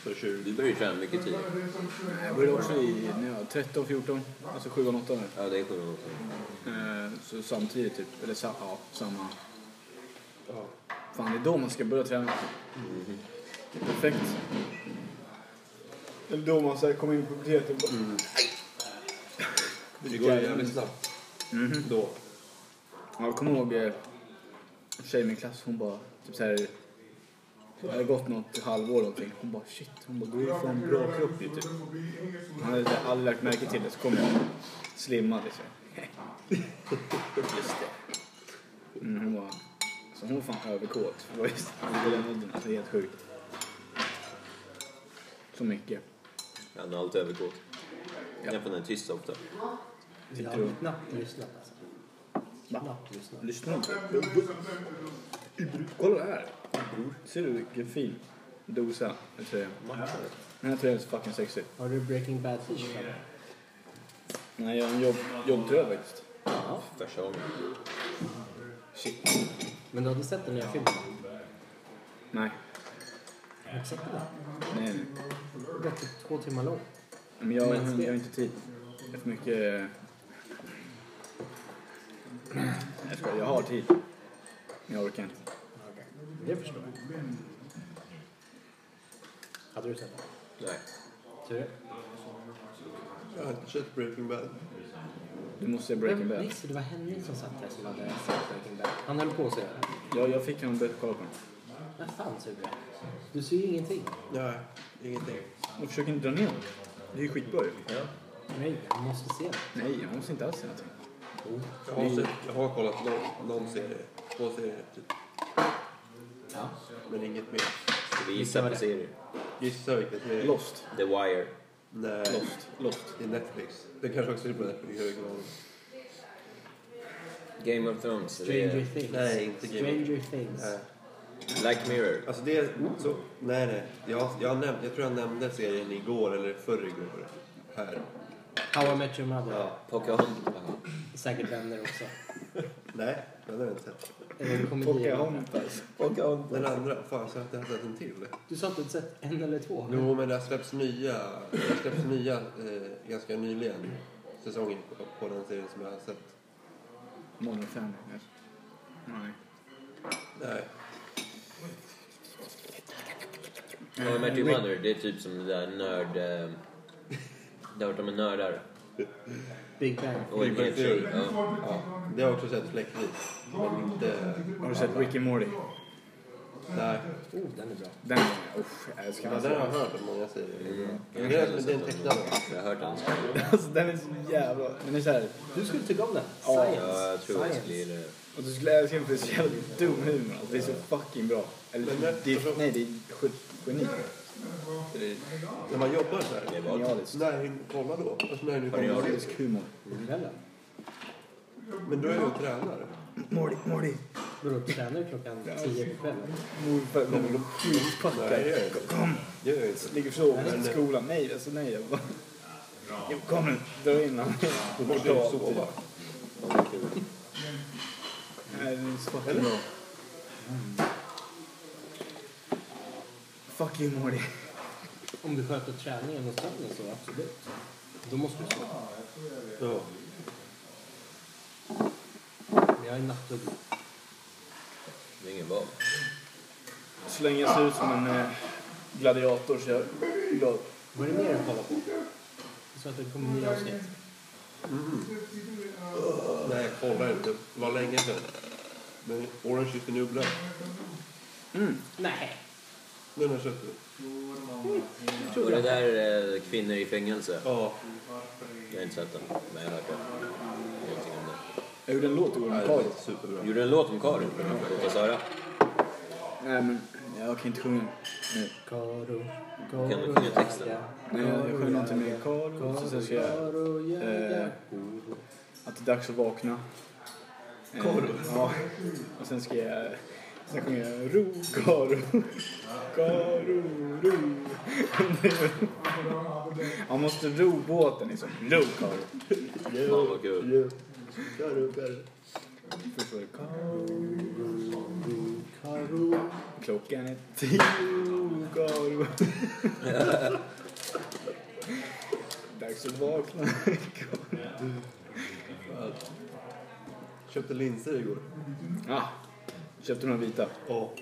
Speaker 3: Så 20.
Speaker 1: Du började ju träna mycket tidigare.
Speaker 5: Jag började också i, när jag var 13, 14. Alltså 7, 8 där.
Speaker 1: Ja, det är 700 sedan.
Speaker 5: Eh, Så samtidigt typ, eller sa, ja, samma.
Speaker 3: Ja.
Speaker 5: Fan, det är då man ska börja träna. Mm. Perfekt. Eller då man så här kommer in på puberteten och bara...
Speaker 3: Det går ju jävligt snabbt då.
Speaker 5: Ja, jag kommer ihåg eh, en tjej i min klass, hon bara typ så här. Det hade gått något halvår någonting. Hon bara shit, hon bara du är fan bra kropp ju typ. Hon hade så här aldrig lagt märke till det så kom jag slimmad liksom. [laughs] Just det. Mm, hon bara, så hon var fan överkåt. Det var just i den åldern, alltså, det är helt sjukt. Så mycket.
Speaker 1: Han har alltid överkåt. Därför han är tyst så ofta.
Speaker 2: Jag
Speaker 5: du?
Speaker 2: har knappt lyssnat alltså.
Speaker 5: Va?
Speaker 2: Knappt lyssnat.
Speaker 5: Lyssna nu. Kolla här. Ser du vilken fin dosa jag tröja? Den här tröjan är så fucking sexy.
Speaker 2: Har du Breaking Bad t-shirt?
Speaker 5: Nej, jag har en jobb, jobbtröja faktiskt.
Speaker 2: Ja.
Speaker 1: Första gången.
Speaker 5: Shit.
Speaker 2: Men du hade sett den nya filmen?
Speaker 5: Nej.
Speaker 2: Har du sett den?
Speaker 5: Nej, nej.
Speaker 2: Den är typ två timmar lång.
Speaker 5: Men jag,
Speaker 2: Men
Speaker 5: jag,
Speaker 2: det-
Speaker 5: har inte tid. Det är för mycket... Jag skojar, jag har tid. Men jag orkar inte.
Speaker 2: Okay. Det förstår jag. Hade du sett den?
Speaker 1: Nej.
Speaker 2: Tur
Speaker 3: Jag har inte sett Breaking Bad.
Speaker 5: Du måste se Breaking Bad.
Speaker 2: Just det, det var Henry som satt där som hade sett Breaking Bad. Han höll på att se den.
Speaker 5: Jag, jag fick honom att börja kolla på den.
Speaker 2: Vad fan Sture? Du ser ju ingenting.
Speaker 3: Nej, ingenting.
Speaker 5: Och försök inte dra ner den. Det är ju skitbra ju.
Speaker 2: Nej, du måste se Oh. den.
Speaker 5: Nej, jag måste inte alls se någonting.
Speaker 2: Jo.
Speaker 3: Jag har, sett, jag har kollat någon, någon serie. Två serier typ.
Speaker 2: Ja.
Speaker 3: Men inget mer.
Speaker 1: Ska vi gissa på serier?
Speaker 3: Gissa vilket det är.
Speaker 5: Lost.
Speaker 1: The Wire.
Speaker 3: Nej,
Speaker 5: Lost. Lost.
Speaker 3: det är Netflix. Det kanske också är på Netflix. Jag har ingen aning.
Speaker 1: Game of Thrones. det är-
Speaker 2: Stranger Things.
Speaker 3: Nej, inte Game of-
Speaker 2: Stranger Things.
Speaker 3: Nej.
Speaker 1: Black Mirror.
Speaker 3: Alltså det är så, nej nej. Jag, jag, nämnde, jag tror jag nämnde serien igår eller förrgår här.
Speaker 2: How I Met Your Mother.
Speaker 3: Ja.
Speaker 1: Pocahontas.
Speaker 2: Säkert vänner också.
Speaker 3: Nej, den har jag inte sett.
Speaker 2: Eller en komedi.
Speaker 5: Pocahontas.
Speaker 3: Den andra, fan så har jag inte sett en till.
Speaker 2: Du sa att du hade sett en eller två?
Speaker 3: Jo men det har släppts nya, det släpps nya eh, ganska nyligen säsonger på, på den serien som jag har sett.
Speaker 5: Modern Family kanske? Nej.
Speaker 3: Nej.
Speaker 1: How I Met
Speaker 3: Mm.
Speaker 1: Your Mother. Det är typ som det där nörd... eh, Det har varit om en nördar.
Speaker 2: Big Bang.
Speaker 1: Och en
Speaker 3: Big Bang
Speaker 1: hel tjej.
Speaker 3: Theory.
Speaker 1: Ja.
Speaker 3: Ja, det har jag också sett fläckvis. Men inte...
Speaker 5: Har du sett Rick and Morty?
Speaker 3: Nej.
Speaker 2: Oh, den är bra.
Speaker 5: Den var jag. Usch, jag
Speaker 3: Ja,
Speaker 5: älskar
Speaker 3: den
Speaker 5: den.
Speaker 3: har jag hört att många säger. Men Det är det är en tecknad.
Speaker 1: Jag har hört den.
Speaker 5: Alltså den är så jävla... Den är såhär...
Speaker 2: Du skulle tycka om den.
Speaker 5: Ja,
Speaker 2: Science.
Speaker 1: Ja, jag tror jag
Speaker 2: Science.
Speaker 1: skulle gilla det. eh,
Speaker 5: Och du skulle älska den för det är så jävla dum humor. Alltså, det är så fucking bra. Eller
Speaker 3: Men det-
Speaker 5: det är... Nej, det är ge- geni. Det är
Speaker 3: När man jobbar så här.
Speaker 1: Det var-
Speaker 5: genialiskt.
Speaker 3: När, kolla då. Alltså när ni kommer.
Speaker 5: Genialisk humor.
Speaker 2: Gillar den?
Speaker 3: Men då är jag ju tränare.
Speaker 5: Morty, Morty.
Speaker 2: Går upp och tränar klockan tio på kvällen.
Speaker 5: Morfar kommer och
Speaker 3: Nej, det
Speaker 5: skitpackar.
Speaker 3: gör jag inte. Det gör jag inte.
Speaker 5: Ligger och sover i skolan. Nej, alltså nej. Jag bara... Jo, kom nu. Dra in honom.
Speaker 3: Då måste jag ju sova.
Speaker 5: Nej, det är så fucking bra. Fuck you, Morty.
Speaker 2: Om du sköter träningen och sömnen så absolut. Då måste du sova.
Speaker 3: Ja.
Speaker 2: Men jag är nattuggla.
Speaker 1: Det är ingen val.
Speaker 5: Så länge jag ser ut som en eh, gladiator så är jag glad.
Speaker 2: Vad är det mer du kollar på? Så att det kommer nya avsnitt.
Speaker 3: Nej, jag kollar inte. Det var länge sedan. Men Orange is the new black.
Speaker 2: Nej.
Speaker 3: Den har jag sett nu.
Speaker 1: Och det där eh, Kvinnor i fängelse.
Speaker 3: Ja.
Speaker 1: Jag har inte sett den, men jag har hört det. Ingenting om det.
Speaker 5: Jag gjorde en låt igår med
Speaker 3: Nej, det
Speaker 5: Karin.
Speaker 3: var superbra.
Speaker 1: Gjorde du en låt om Karin? Låt oss höra.
Speaker 5: Nej, men jag kan inte sjunga den nu.
Speaker 2: Karo,
Speaker 1: Kan du sjunga texten?
Speaker 5: Nej, jag sjöng någonting med Karo. Och så ska jag...
Speaker 2: Karo,
Speaker 5: Eh,
Speaker 2: jaga.
Speaker 5: att det är dags att vakna. Karo? Ja. Och sen ska jag... Sen sjunger jag ro, karo, karo, ro. Man måste ro båten liksom. Ro, karo.
Speaker 1: Fan vad kul.
Speaker 5: Först var det karo.
Speaker 2: Karo.
Speaker 5: Klockan är tio, karo. Dags att vakna, karo.
Speaker 3: Köpte linser igår.
Speaker 5: Ja. Köpte några vita.
Speaker 3: Ja.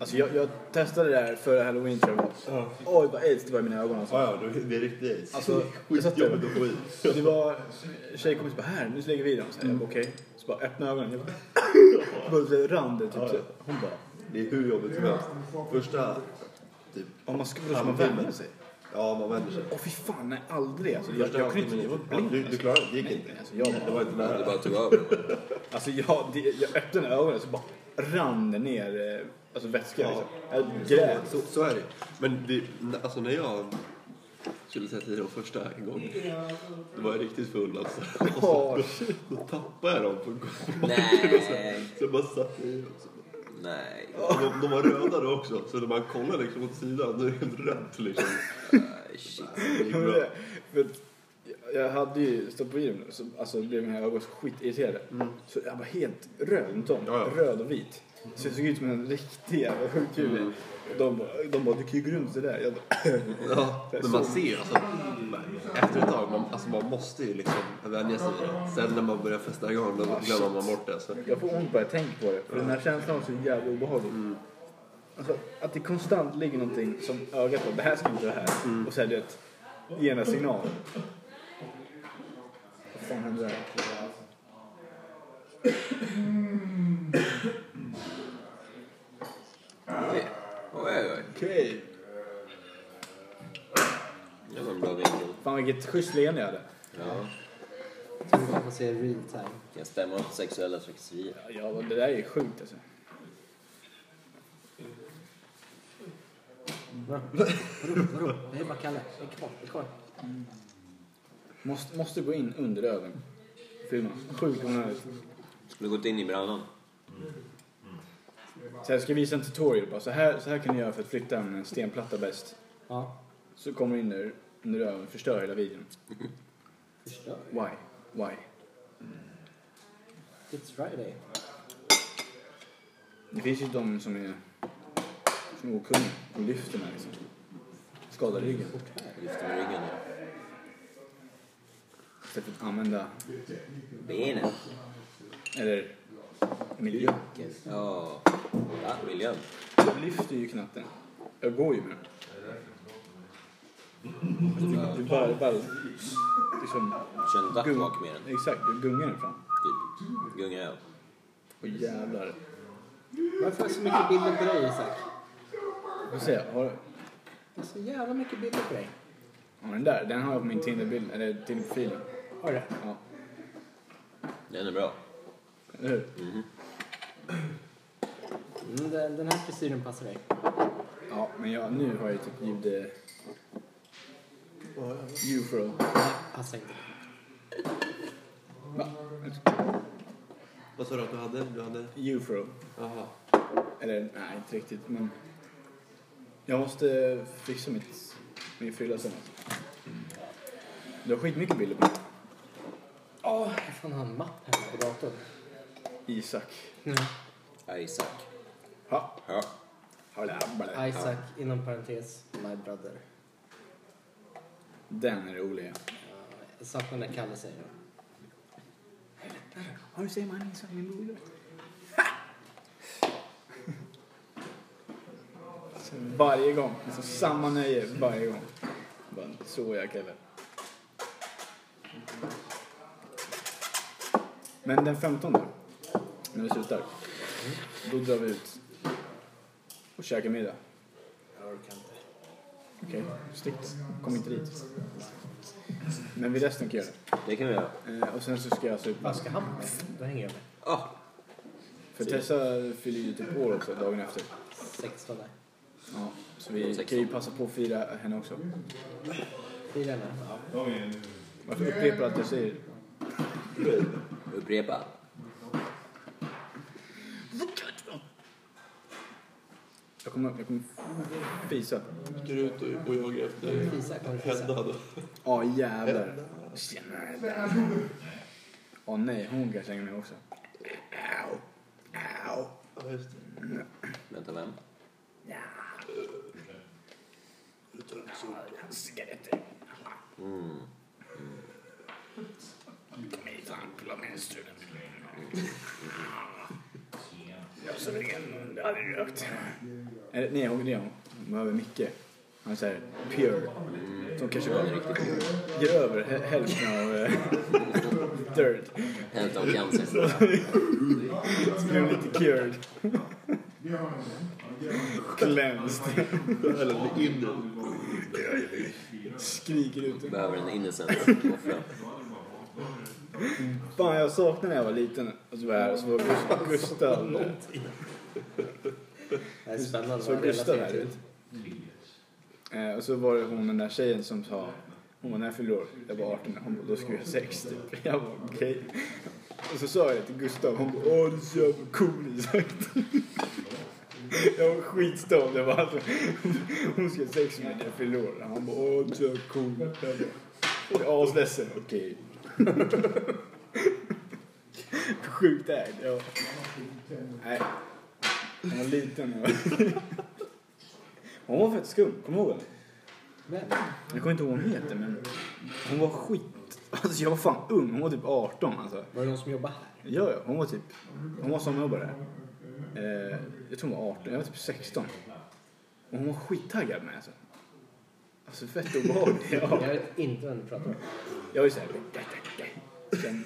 Speaker 5: Alltså jag, jag testade det här före halloween tror jag det var.
Speaker 3: Ja,
Speaker 5: Oj, vad aids det var i mina ögon alltså.
Speaker 3: ja, det det är riktigt aids.
Speaker 5: Alltså, jag satt
Speaker 3: Skitjobbigt
Speaker 5: där.
Speaker 3: att få i.
Speaker 5: Det var tjejkompis bara här, nu lägger vi dem. Så här, jag bara okej. Så bara [laughs] öppna ögonen. Jag bara, bara rann det typ.
Speaker 3: Ja,
Speaker 5: så.
Speaker 3: ja.
Speaker 5: Hon bara,
Speaker 3: Det är hur jobbigt som helst. Första... Typ,
Speaker 5: om man skulle så
Speaker 3: Ja,
Speaker 5: man
Speaker 3: men-
Speaker 5: vänder sig.
Speaker 3: ja, man vänder sig.
Speaker 5: Åh fy fan, nej aldrig alltså. Jag,
Speaker 3: Första
Speaker 5: jag kunde inte, jag var
Speaker 3: halvtimmen- Ja,
Speaker 5: blind.
Speaker 3: Du, du
Speaker 5: alltså.
Speaker 3: klarade det. Det gick
Speaker 5: Nej,
Speaker 3: inte.
Speaker 5: nej, alltså, jag bara-
Speaker 3: det var inte
Speaker 1: Du
Speaker 3: nära.
Speaker 1: bara tog över.
Speaker 5: Alltså jag, det, jag öppnade ögonen så bara rann det ner eh, alltså, vätska
Speaker 3: Ja.
Speaker 5: liksom. Jag grät.
Speaker 3: Så, så är det Men det, alltså när jag skulle sätta i dem första gången. Då var jag riktigt full alltså. [laughs] Och så,
Speaker 5: Åh,
Speaker 3: då, då tappade jag dem på golvet.
Speaker 1: Nej.
Speaker 3: Så jag bara satte i dem. Så bara-
Speaker 1: Nej.
Speaker 3: De, de var röda då också. Så när man kollar liksom åt sidan då är det helt rött liksom.
Speaker 1: Aj, Shit.
Speaker 3: Det gick
Speaker 5: [laughs] Ja, men
Speaker 3: bra.
Speaker 5: det- För att jag- jag hade ju stått på gym nu, så alltså, blev mina ögon så skitirriterade. Så jag var helt röd runt om.
Speaker 3: Mm. Ja, ja.
Speaker 5: Röd och vit. Så jag såg ut som en riktig jävla sjukhuvud.
Speaker 3: Mm.
Speaker 5: Och de, bara- de bara, du kan ju gå runt sådär. Jag bara,
Speaker 3: Ja, men man ser ju alltså, efter ett tag, man, alltså man måste ju liksom vänja sig i det. Sen när man börjar festa igång då glömmer man bort det. Så.
Speaker 5: jag får ont bara jag tänker på det. För den här känslan var så jävla obehaglig.
Speaker 3: Mm.
Speaker 5: Alltså, att det konstant ligger någonting som ögat på, det här ska inte vara här.
Speaker 3: Mm.
Speaker 5: Och så här, du vet, ger en signal. Vad fan hände där?
Speaker 1: Oj, oj, oj.
Speaker 5: Okej.
Speaker 1: Det var en bra vinkel.
Speaker 5: Fan vilket schysst leende jag hade.
Speaker 1: Ja.
Speaker 2: Tror du att man ser real time?
Speaker 1: Kan stämma upp sexuella trakasserier.
Speaker 5: Ja, men det där är ju sjukt alltså.
Speaker 2: [laughs] Vadå? Vadå? Vadå? Nej, bara Kalle. Det är kvar. Det är kvar.
Speaker 5: Måste, måste gå in under öven. Filma. Sjukt onödigt.
Speaker 1: Skulle gått in i brallan.
Speaker 5: Så jag ska visa en tutorial bara. Så här, så här kan ni göra för att flytta en stenplatta bäst.
Speaker 2: Ja.
Speaker 5: Så kommer du in där under öven och förstör hela videon.
Speaker 2: Förstör.
Speaker 5: Why? Why?
Speaker 2: It's Friday.
Speaker 5: Det finns ju de som är, som är okunniga och lyfter den här liksom. Skadar ryggen.
Speaker 1: Lyfter med ryggen.
Speaker 5: Istället för att använda,
Speaker 1: Benen.
Speaker 5: eller miljö.
Speaker 1: Ja. Va? Miljön.
Speaker 5: Jag lyfter ju knappt den. Jag går ju med den. Det- Det är bara, det är bara liksom...
Speaker 1: Kör en
Speaker 5: Gung-
Speaker 1: duckwalk med den.
Speaker 5: Exakt, du gungar den fram.
Speaker 1: Typ. Gunga över.
Speaker 5: Och jävlar.
Speaker 2: Varför har jag så mycket bilder på dig, Isak?
Speaker 5: Får se, har,
Speaker 2: Jag har så jävla mycket bilder på dig.
Speaker 5: ja, den där, den har jag på min Tinder-bild, eller Tinder-profilen.
Speaker 2: Har du det?
Speaker 5: Ja,
Speaker 1: Den är bra.
Speaker 5: eller hur?
Speaker 2: Mm, den, den här frisyren passar dig.
Speaker 5: Ja, men jag, nu har jag typ ljud... eh, Ufro.
Speaker 2: Nej, passar inte.
Speaker 5: Va?
Speaker 3: Vad sa du att du hade? Du hade?
Speaker 5: Ufro.
Speaker 3: Jaha.
Speaker 5: Eller nej, inte riktigt men. Jag måste eh, fixa mitt, min frilla sen. Du har skitmycket bilder på mig.
Speaker 2: Åh, jag fan har en mapp här på datorn.
Speaker 5: Isak.
Speaker 1: Isaac.
Speaker 5: Ha.
Speaker 1: Ja.
Speaker 5: Hola.
Speaker 2: Isaac, inom parentes, my brother.
Speaker 5: Den är rolig.
Speaker 2: Uh, jag saknar när Kalle säger det.
Speaker 5: Har du sett mannen som min bror? Alltså, [laughs] varje gång. Alltså, samma nöje varje gång. Bara, så jag kille. Men den 15 när vi
Speaker 2: Mm.
Speaker 5: slutar, då drar vi ut och käkar middag.
Speaker 2: Jag orkar inte.
Speaker 5: Okej, stick då. Kom inte dit. Men vi resten kan göra det.
Speaker 1: Det kan vi göra.
Speaker 5: Eh, Och sen så ska jag supa.
Speaker 2: Vad ska han med? Då hänger jag med.
Speaker 1: Ah,
Speaker 5: För Tessa fyller ju typ år också dagen efter.
Speaker 2: 16 där.
Speaker 5: Ja, så vi kan ju passa på att fira henne också.
Speaker 2: Fyra med. Ja.
Speaker 5: Varför upprepar att jag säger
Speaker 1: upprepa.
Speaker 5: Jag kommer, jag kommer fisa.
Speaker 3: Åker ut och- och jagar efter
Speaker 2: Isak, har du
Speaker 3: Hedda
Speaker 2: fisa?
Speaker 3: då?
Speaker 5: Ja, jävlar. Tjenare där. Åh nej, hon kan slänga mig också. Au. Au.
Speaker 3: Ja, just det.
Speaker 1: Vänta, vem?
Speaker 5: Cigaretter. Kom hit han, kolla med struten. Jag som ingen aldrig rökt. Eh, Nej, hon, nej, hon hon behöver mycket. Han är såhär pure. Som kanske
Speaker 1: Han är
Speaker 5: bara
Speaker 1: riktigt grym.
Speaker 5: ger över hä- hälften av eh, [laughs] dirt.
Speaker 1: Hälften av cancern.
Speaker 5: Så blir hon lite cured. Cleansed.
Speaker 3: Eller in den.
Speaker 5: Skriker ut.
Speaker 1: Behöver en innocent offra.
Speaker 5: Fan, jag saknade när jag var liten. Och så var jag här och så var Gust- Gustav.
Speaker 2: Det är spännande.
Speaker 5: Så
Speaker 2: vad han
Speaker 5: Gustav
Speaker 2: relaterar
Speaker 5: här
Speaker 2: till.
Speaker 5: ut. Eh, och så var det hon den där tjejen som sa, hon var när jag fyllde år, jag var 18 hon bara, då ska vi ha sex typ. [laughs] Jag var okej. Och så sa jag det till Gustav, hon bara, åh du är så jävla cool [laughs] Isak. Jag var skitstörd, jag bara, alltså, [laughs] hon ska ha sex med mig när jag fyllde år. Han bara, åh du är så jävla cool. Jag bara, jag är asledsen, okej. [laughs] Sjukt ägd, ja. Nej. Hon var liten och... Hon var fett skum, kommer du ihåg henne?
Speaker 2: Men,
Speaker 5: Jag kommer inte ihåg vad hon heter men hon var skit... Alltså jag var fan ung, hon var typ 18 alltså.
Speaker 2: var det någon som jobbade här?
Speaker 5: Ja, ja, hon var typ... Hon var sommarjobbare. Eh, jag tror hon var 18, jag var typ 16. Och hon var skittaggad med alltså. Alltså fett [laughs] obehaglig.
Speaker 2: Jag
Speaker 5: Ja.
Speaker 2: vet inte vem du pratar om.
Speaker 5: Jag var ju såhär... "Da, da, da." Sen,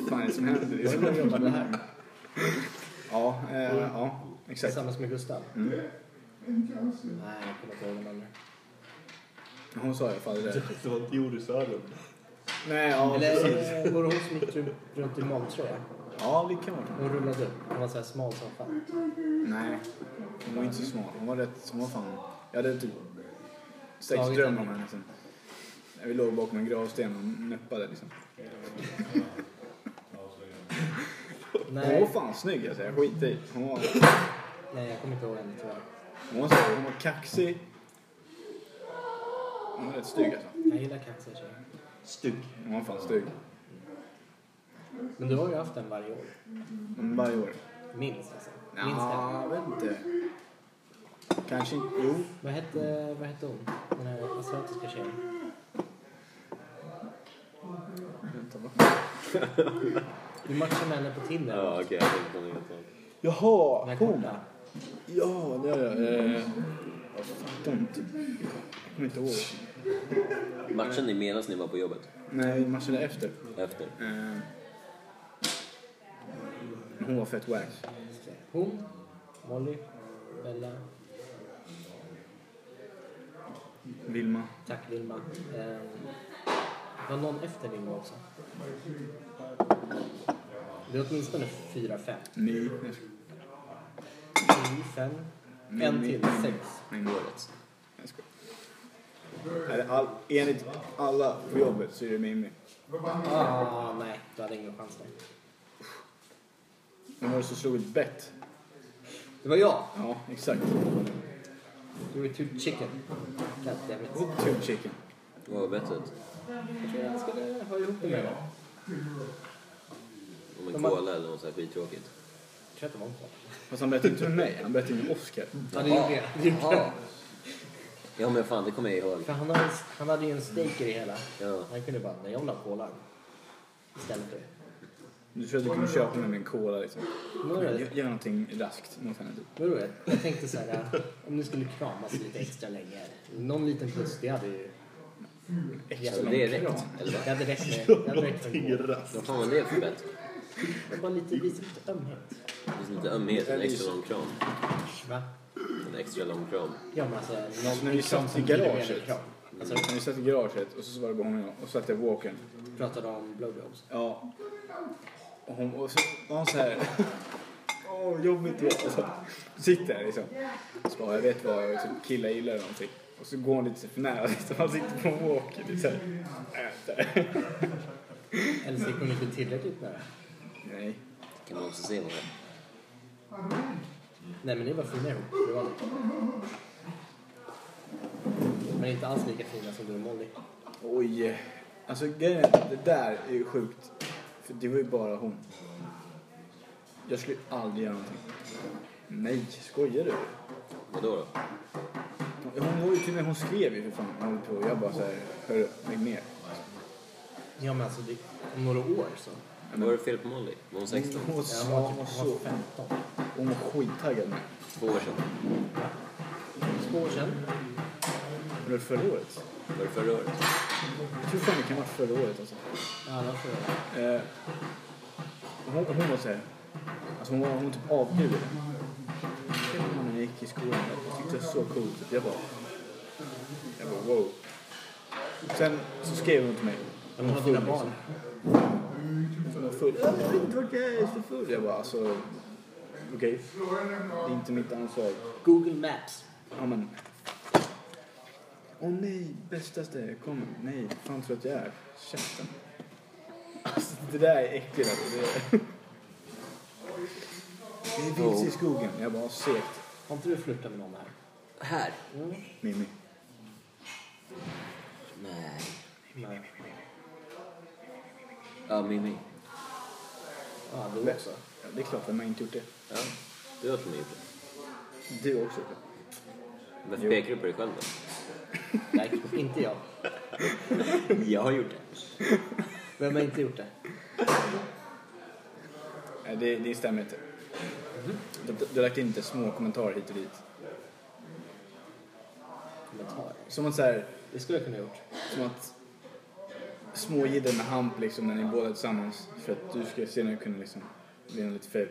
Speaker 5: Vad fan är det som händer?
Speaker 2: Var det någon som jobbade här?
Speaker 5: Ja, eh, ja, exakt.
Speaker 2: Tillsammans med Gustav?
Speaker 5: Mm.
Speaker 2: Nej, jag kommer inte ihåg den andra.
Speaker 5: Hon sa i alla fall det. där.
Speaker 3: Det var inte Joris Erlund.
Speaker 5: Nej, ja precis.
Speaker 2: Eller eh, var det hon som gick ru- runt i magtröja?
Speaker 5: Ja, det kan vara
Speaker 2: Hon rullade upp. Hon var så här smal som fan.
Speaker 5: Nej, hon var inte så smal. Hon var rätt, hon var fan... Jag hade typ sex
Speaker 2: Slagit
Speaker 5: drömmar om henne sen. När vi låg bakom en gravsten och näppade liksom. Hon var
Speaker 2: Nej,
Speaker 5: fan snygg alltså, jag skiter i. Hon var,
Speaker 2: nej jag kommer inte ihåg henne tyvärr.
Speaker 5: hon var, så, hon var kaxig. Hon var rätt stygg alltså.
Speaker 2: Jag gillar kaxiga tjejer.
Speaker 3: Stygg.
Speaker 5: Hon var fan stygg.
Speaker 2: Men du har ju haft den varje år.
Speaker 5: Men varje år.
Speaker 2: Minst alltså. Minst en.
Speaker 5: Ja, jag vet inte. Kanske inte. Jo.
Speaker 2: Vad hette, vad hette hon? Den här asiatiska tjejen.
Speaker 5: Vänta, va?
Speaker 2: Du matchade med henne på Tinder.
Speaker 1: Ja, okej. Jag vet inte om ni vet vad.
Speaker 2: Den
Speaker 5: Jaha,
Speaker 2: här
Speaker 5: hon.
Speaker 2: korta.
Speaker 5: Ja, det gör jag. Eh, vad fan, typ. Jag kommer inte ihåg.
Speaker 1: Matchen ni medan ni var på jobbet?
Speaker 5: Nej, matchen efter.
Speaker 1: Efter?
Speaker 5: Eh, hon var fett wack.
Speaker 2: Hon, Molly, Bella,
Speaker 5: Vilma.
Speaker 2: tack Vilma. Eh, var någon efter Vilma också? Det är åtminstone fyra, fem.
Speaker 5: Ni.
Speaker 2: Tio, fem.
Speaker 5: Nej,
Speaker 2: En
Speaker 5: nej,
Speaker 2: till,
Speaker 5: nej.
Speaker 2: sex.
Speaker 5: Nej, årets. Jag skojar. Är det all, enligt alla på jobbet så är det Mimmi.
Speaker 2: Ah, nej, du hade ingen chans där.
Speaker 5: Men var det som slog ett bett?
Speaker 2: Det var jag.
Speaker 5: Ja, exakt.
Speaker 2: Du var too chicken. Goddammit.
Speaker 5: Tube chicken.
Speaker 1: Vad var bettet?
Speaker 5: Jag skulle ha ihop det med va?
Speaker 1: Om en
Speaker 2: De har-
Speaker 1: cola eller något sånt här skittråkigt.
Speaker 2: Jag tror att det var omkring.
Speaker 5: Fast han bettade inte med mig, han bettade med Oscar.
Speaker 2: Ja, det gjorde jag.
Speaker 1: Ja. ja men fan det kommer jag ihåg.
Speaker 2: [laughs] För han hade, han hade ju en staker i hela.
Speaker 1: Ja.
Speaker 2: Han kunde bara, nej jag vill ha kolan. Istället för...
Speaker 5: Du trodde du kunde köpa med mig en cola liksom.
Speaker 2: Vadå?
Speaker 5: Gör, gör någonting raskt. typ. Något annat.
Speaker 2: Vadå? Jag tänkte så här, om ni skulle kramas lite extra länge. Någon liten puss, det hade ju...
Speaker 1: Så
Speaker 2: Extra
Speaker 1: det är rätt. Eller
Speaker 2: Det
Speaker 1: vad?
Speaker 2: hade räckt med... Det hade räckt med en
Speaker 3: Någonting
Speaker 2: kola.
Speaker 3: raskt.
Speaker 1: Vad fan var det för bett?
Speaker 2: Det var lite, lite lite ömhet.
Speaker 1: Det är lite ömhet, en extra lång kram.
Speaker 2: Va?
Speaker 1: En extra lång kram.
Speaker 2: Ja men alltså... Någon,
Speaker 5: när vi satt i
Speaker 2: som blir
Speaker 5: garaget.
Speaker 2: mer än kram. Alltså,
Speaker 5: När vi satt i garaget och så var det bara hon och jag och så satt jag i walkern.
Speaker 2: pratade om blowjobs.
Speaker 5: Ja. Och, hon, och så var hon så här... [laughs] Åh, oh, jobbigt det är." och så Sitter här liksom. Så bara, jag vet vad jag liksom, killar gillar eller någonting. Och så går hon lite för nära [laughs] liksom. Han sitter på en walker. Liksom. Äter.
Speaker 2: Eller så gick hon inte tillräckligt nära.
Speaker 5: Nej.
Speaker 1: Kan man också se vad det är?
Speaker 2: Nej men ni var fina ihop. Det var ni. Men inte alls lika fina som du och Molly.
Speaker 5: Oj. Alltså grejen är att det där är ju sjukt. För det var ju bara hon. Jag skulle aldrig göra någonting. Nej, skojar du?
Speaker 1: Vadå då?
Speaker 5: Hon var ju till och med, hon skrev ju för fan. Hon höll på. Jag bara såhär, hörru, lägg ner.
Speaker 2: Ja men alltså det, om några år så.
Speaker 1: Vad var det fel på Molly? Var hon 16?
Speaker 5: Hon var
Speaker 2: Ja,
Speaker 5: så,
Speaker 2: hon var typ-
Speaker 5: hon var
Speaker 2: hon var
Speaker 5: så
Speaker 2: 15.
Speaker 5: Hon var skittaggad med.
Speaker 1: Två år sedan.
Speaker 2: Två år sedan.
Speaker 5: Var det förra året?
Speaker 1: Var det förra året?
Speaker 5: Jag tror fan det kan ha varit förra året alltså.
Speaker 2: Ja, det var förra året.
Speaker 5: Eh, hon, hon var såhär, alltså hon var hon typ avgudade. Shit, man, När jag gick i skolan, jag tyckte det var så coolt. Jag bara, jag bara wow. Sen så skrev hon till mig.
Speaker 2: Men hon har dina
Speaker 5: liksom.
Speaker 2: barn.
Speaker 5: Hon var full. Jag vet inte vart jag är, så full. Jag bara alltså, okej. Det är inte mitt ansvar.
Speaker 2: Google Maps.
Speaker 5: Ja men. Åh nej, bästaste, kom. Nej, fan tror att jag är. Käften. Alltså det där är äckligt alltså. Det är... Vi är vilse i skogen. Jag bara, segt.
Speaker 2: Har inte du flörtat med någon här?
Speaker 1: Här?
Speaker 5: Mimmi.
Speaker 1: Nej.
Speaker 2: Nej.
Speaker 1: Ja, Mimmi.
Speaker 2: Ja, du också.
Speaker 5: Ja, det är klart, vem har inte gjort det?
Speaker 1: Ja, det var som jag gjorde.
Speaker 5: Du också.
Speaker 1: Varför
Speaker 5: Jo.
Speaker 1: pekar du på dig själv då?
Speaker 5: [laughs]
Speaker 2: Nej, inte jag.
Speaker 1: Jag har gjort det.
Speaker 2: Vem har inte gjort det?
Speaker 5: Nej, det, det stämmer inte. Du, du har lagt in lite små kommentarer hit och dit.
Speaker 2: Kommentarer.
Speaker 5: Som att så här,
Speaker 2: Det skulle jag kunna gjort.
Speaker 5: som att smågidden med hamp liksom när ni båda är tillsammans. För att du ska senare kunna liksom bli något lite fel.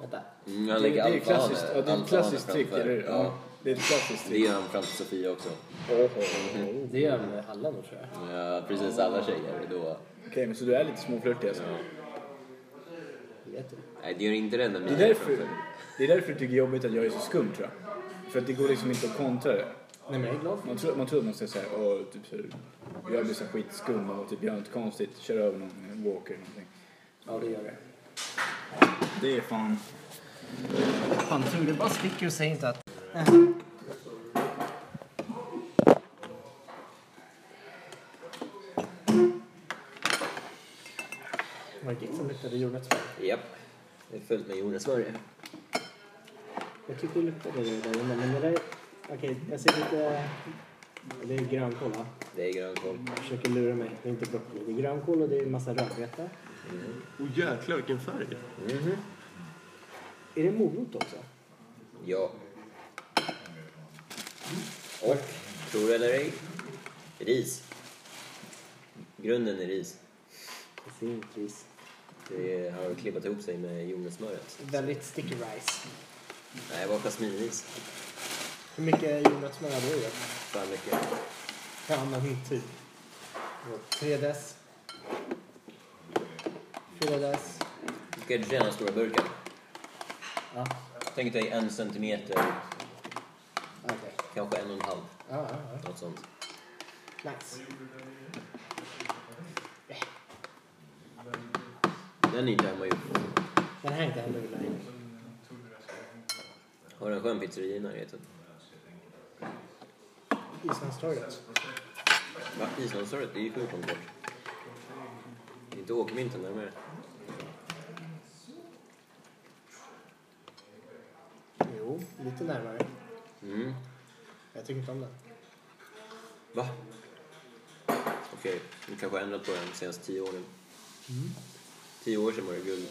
Speaker 2: Vänta.
Speaker 1: Mm, han
Speaker 5: Det,
Speaker 1: lägger
Speaker 5: det är ju klassiskt,
Speaker 1: alfahane-
Speaker 5: ja, det är ett klassiskt
Speaker 1: alfahane
Speaker 5: trick,
Speaker 1: framför.
Speaker 5: eller hur? Ja. Det är ett klassiskt
Speaker 1: Det
Speaker 5: trick.
Speaker 1: gör han framför Sofia också.
Speaker 2: Det gör jag med alla nog tror jag.
Speaker 1: Ja, precis alla tjejer. Då.
Speaker 5: Okej, men så du är lite småflörtig alltså?
Speaker 1: Ja.
Speaker 2: Vet du?
Speaker 1: Nej, det gör inte det när
Speaker 5: Det, är
Speaker 1: mina är
Speaker 5: därför,
Speaker 1: framför.
Speaker 5: det är därför du tycker det är jobbigt att jag är så skum tror jag. För att det går liksom inte att kontra det.
Speaker 2: Nej men jag är glad för
Speaker 5: Man tror, man tror att man ska säga åh, typ så här, jag blir så här skitskum och typ gör något konstigt, kör över någon, eh, walker eller någonting.
Speaker 2: Ja, det gör det.
Speaker 5: Det är fan...
Speaker 2: Fan tur det bara sticker och säger inte att... Var det ditt som luktade jordnötssmör?
Speaker 1: Japp. Det är fullt med jordnötssmörja.
Speaker 2: Jag tyckte det luktade det där innan, men det där... Okej, jag ser lite... Det är grönkål va?
Speaker 1: Det är grönkål.
Speaker 2: Jag försöker lura mig. Det är inte broccoli. Det är grönkål och det är en massa rödbeta.
Speaker 3: Och jäklar vilken färg.
Speaker 1: Mhm.
Speaker 2: Är det morot också?
Speaker 1: Ja. Och, tror du eller ej, ris. Grunden är ris.
Speaker 2: Det ser inte ris.
Speaker 1: Det har klibbat ihop sig med jordnötssmöret.
Speaker 2: Väldigt sticky rice.
Speaker 1: Nej, det var jasminris.
Speaker 2: Hur mycket jordnötssmör hade du i det?
Speaker 1: Fan mycket.
Speaker 2: Ja, men typ. Och Tre dess. Fyra dess.
Speaker 1: Du ska inte känna stora burken.
Speaker 2: Ja,
Speaker 1: Tänk dig en centimeter,
Speaker 2: okej.
Speaker 1: kanske en och en halv.
Speaker 2: Ja, ja,
Speaker 1: Något sånt.
Speaker 2: ja. Nice.
Speaker 1: Den är inte hemma gjort.
Speaker 2: Den här är inte heller online.
Speaker 1: Har en skön pizzeria i närheten.
Speaker 2: Islandstorget.
Speaker 1: Va? Islandstorget, det är ju sjukt långt bort. Det är inte Åkervintern närmare.
Speaker 2: Jo, lite närmare.
Speaker 1: Mm.
Speaker 2: Jag tycker inte om den.
Speaker 1: Va? Okej, vi kanske har ändrat på den de senaste tio åren. Tio år sedan var det guld.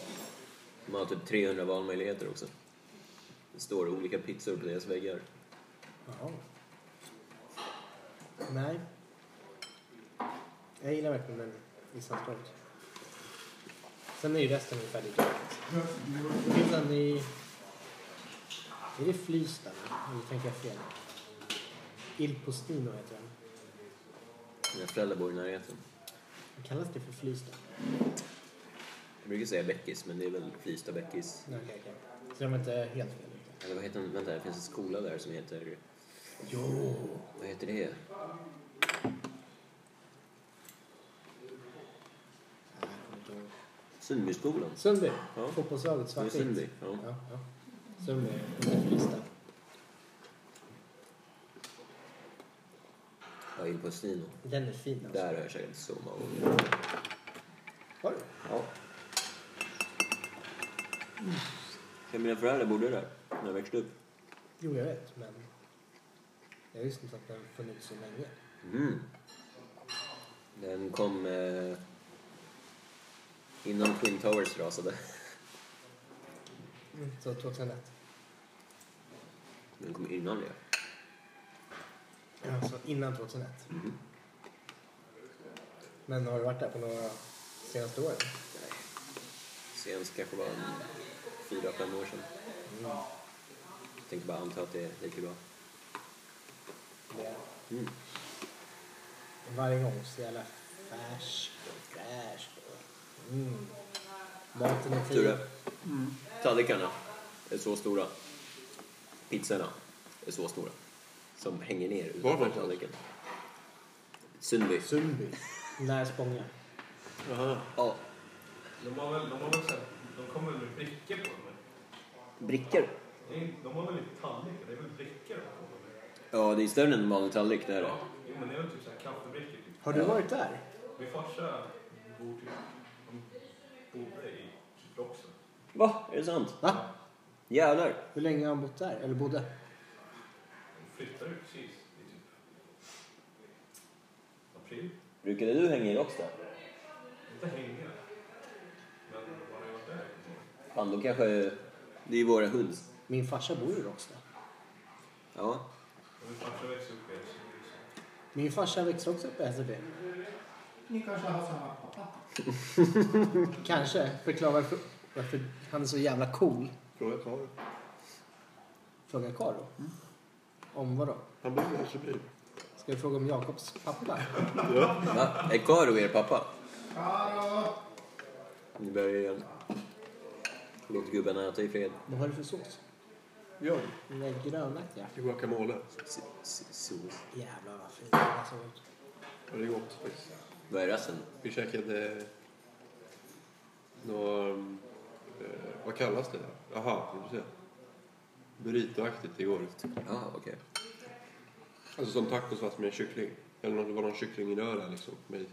Speaker 1: Man har typ 300 valmöjligheter också. Det står olika pizzor på deras väggar.
Speaker 2: Jaha. Nej. Jag gillar verkligen den islandstorget. Sen är ju resten ungefär likadant. Det finns en i... Är det Flysta? Eller tänker jag fel? Il Postino heter den.
Speaker 1: Mina föräldrar bor i närheten.
Speaker 2: Vad Kallas det för Flysta?
Speaker 1: Jag brukar säga Bäckis, men det är väl Flysta Bäckis.
Speaker 2: Nej, okej, okej. Så de är inte helt fel ute.
Speaker 1: Eller vad heter den? Vänta, det finns en skola där som heter...
Speaker 2: Jo!
Speaker 1: Vad heter det? Sundbyskolan.
Speaker 2: Sundby.
Speaker 1: Ja.
Speaker 2: Fotbollslaget
Speaker 1: Det är
Speaker 2: Svartvitt.
Speaker 1: Sundby. Ja.
Speaker 2: Ja, ja. Sundby. inte Flysta.
Speaker 1: Ja, in på Stino.
Speaker 2: Den är fin alltså.
Speaker 1: Där har jag käkat soma och...
Speaker 2: Var du?
Speaker 1: Ja. Jag mina föräldrar bodde där när jag växte upp.
Speaker 2: Jo, jag vet, men jag visste inte att den funnits så länge.
Speaker 1: Mm. Den kom eh, innan Twin Towers rasade.
Speaker 2: Så 2001.
Speaker 1: Den kom innan det.
Speaker 2: Alltså innan 2001. Men har du varit där på några senaste åren?
Speaker 1: Senast kanske var en fyra, fem år sedan. Jag tänkte bara anta att det är lika bra.
Speaker 2: Det
Speaker 1: Mm.
Speaker 2: Mm. varje gång så jävla färsk och fräsch. och- Mm. Maten är
Speaker 1: Ture.
Speaker 2: fin.
Speaker 1: Tallrikarna är så stora. Pizzorna är så stora. Som hänger ner utanför
Speaker 3: någonstans?
Speaker 1: tallriken. Sundby.
Speaker 2: Sundby. Nära Spånga.
Speaker 1: Ja.
Speaker 6: De har väl, de har väl så här, de kommer väl med brickor på dem? eller?
Speaker 1: Brickor.
Speaker 6: Det är inte- De har väl inte tallrikar, det är väl brickor de har på dem? eller?
Speaker 1: Ja, det är större än en vanlig tallrik. Det är det.
Speaker 6: Jo men det är väl typ så här kaffebrickor typ.
Speaker 2: Har du varit där?
Speaker 6: Min farsa bor typ, han bodde i Kipro också.
Speaker 1: Va? Är det sant?
Speaker 2: Va?
Speaker 1: Jävlar.
Speaker 2: Hur länge har han bott där? Eller bodde?
Speaker 6: De flyttade ju precis i typ april.
Speaker 1: Brukade du hänga i Råcksta?
Speaker 6: Inte hänga, men man har ju varit där. i några år.
Speaker 1: Fan, då kanske... Det är ju våra hunds.
Speaker 2: Min farsa bor i Råcksta.
Speaker 1: Ja.
Speaker 6: Och Min farsa växte upp i Helsingborg. så
Speaker 2: Min farsa växte också upp i Hässelby.
Speaker 7: Ni kanske har samma pappa?
Speaker 2: [laughs] Kanske förklara varför, varför han är så jävla cool.
Speaker 3: Fråga Karl.
Speaker 2: Fråga Karo.
Speaker 7: Mm.
Speaker 2: Om vadå?
Speaker 3: Han bor i Hässelby.
Speaker 2: Ska vi fråga om Jakobs pappa?
Speaker 1: Va? Är Karo er pappa?
Speaker 7: Hallå!
Speaker 1: Ni börjar igen. Låt gubben äta i fred.
Speaker 2: Vad har du för sås?
Speaker 3: Ja.
Speaker 2: Den där grönaktiga.
Speaker 3: Det är guacamole.
Speaker 1: S- s- Sås.
Speaker 2: Jävlar vad fin den här såg ut.
Speaker 3: Och det är gott faktiskt.
Speaker 1: Vad är resten?
Speaker 3: Vi käkade... Nå, eh, vad kallas det? Jaha, får du säga. Burritoaktigt igår.
Speaker 1: Ja, okej.
Speaker 3: Alltså som tacos fast med en kyckling. Eller någon- det var någon kycklingröra liksom. Med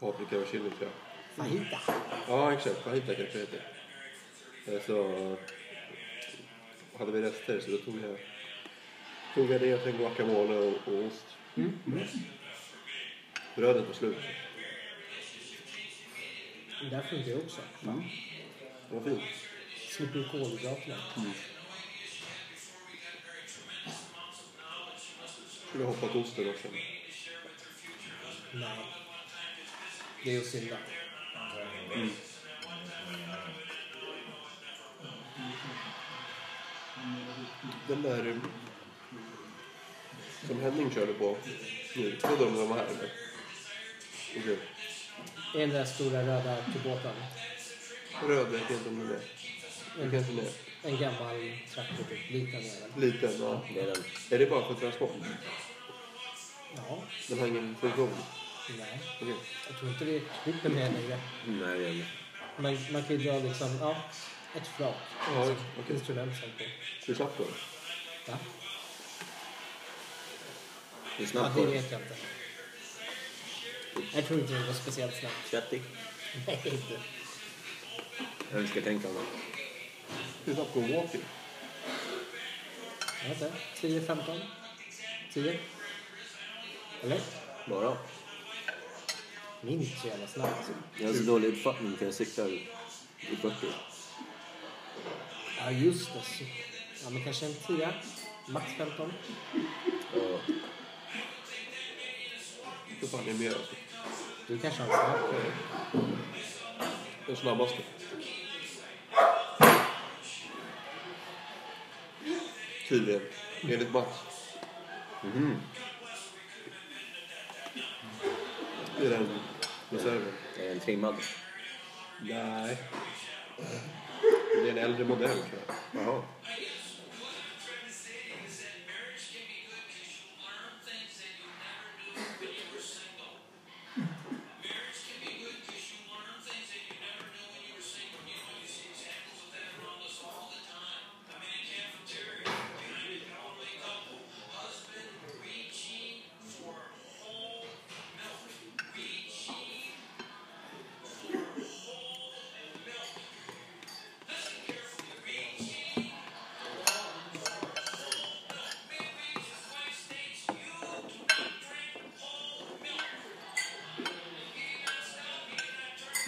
Speaker 3: paprika och chili tror jag.
Speaker 2: Fajita.
Speaker 3: Ja, exakt. Fajita kanske det heter. Eh, Så hade vi rester så då tog jag, tog jag det och sen guacamole och, och ost. Brödet var slut.
Speaker 2: Den där funkar ju också. Mm.
Speaker 3: Det var fint.
Speaker 2: Slipper ju kolhydraterna.
Speaker 3: Skulle ha hoppat osten också.
Speaker 2: Nej. Det är ju synd.
Speaker 3: Den där eh, som Henning körde på nu. Var de när de var här eller? Okej.
Speaker 2: Är den där stora röda tubåten.
Speaker 3: Röd vet jag inte om den är. Den kanske den är.
Speaker 2: En gammal traktor typ. Liten jävel.
Speaker 3: Liten. Ja.
Speaker 1: Det är den.
Speaker 3: Är det bara för transport?
Speaker 2: Ja.
Speaker 3: Den har ingen funktion?
Speaker 2: Nej.
Speaker 3: Okej.
Speaker 2: Jag tror inte vi klipper med den längre.
Speaker 1: Nej, det Mm, är den.
Speaker 2: Man, man kan ju dra liksom, ja. Ett flak.
Speaker 3: Ja, okej.
Speaker 2: Instrument sen på.
Speaker 3: Du slapp då?
Speaker 2: Va?
Speaker 8: Hur
Speaker 2: Ja,
Speaker 8: snabbt
Speaker 2: det
Speaker 8: var det?
Speaker 2: vet jag inte. Jag tror inte det var speciellt [laughs] snabbt.
Speaker 8: 30?
Speaker 2: Nej, inte.
Speaker 8: Jag önskar tänka om det.
Speaker 3: Hur snabbt går walking?
Speaker 2: Jag vet inte. 10, 15? 10? Eller?
Speaker 8: Bara?
Speaker 2: Det är inte så jävla snabbt.
Speaker 8: Jag har så dålig uppfattning för jag cyklar i 40.
Speaker 2: Ja, just det. Så- Ja, men kanske en 10. Max 15.
Speaker 8: Ja,
Speaker 3: Hur fan är det mer alltså?
Speaker 2: Du kanske har en snabb.
Speaker 3: Den snabbaste. Tydligen. Enligt Max. Det är den reserven.
Speaker 8: är den trimmad?
Speaker 3: Nej. Det är en äldre modell tror jag.
Speaker 8: Jaha.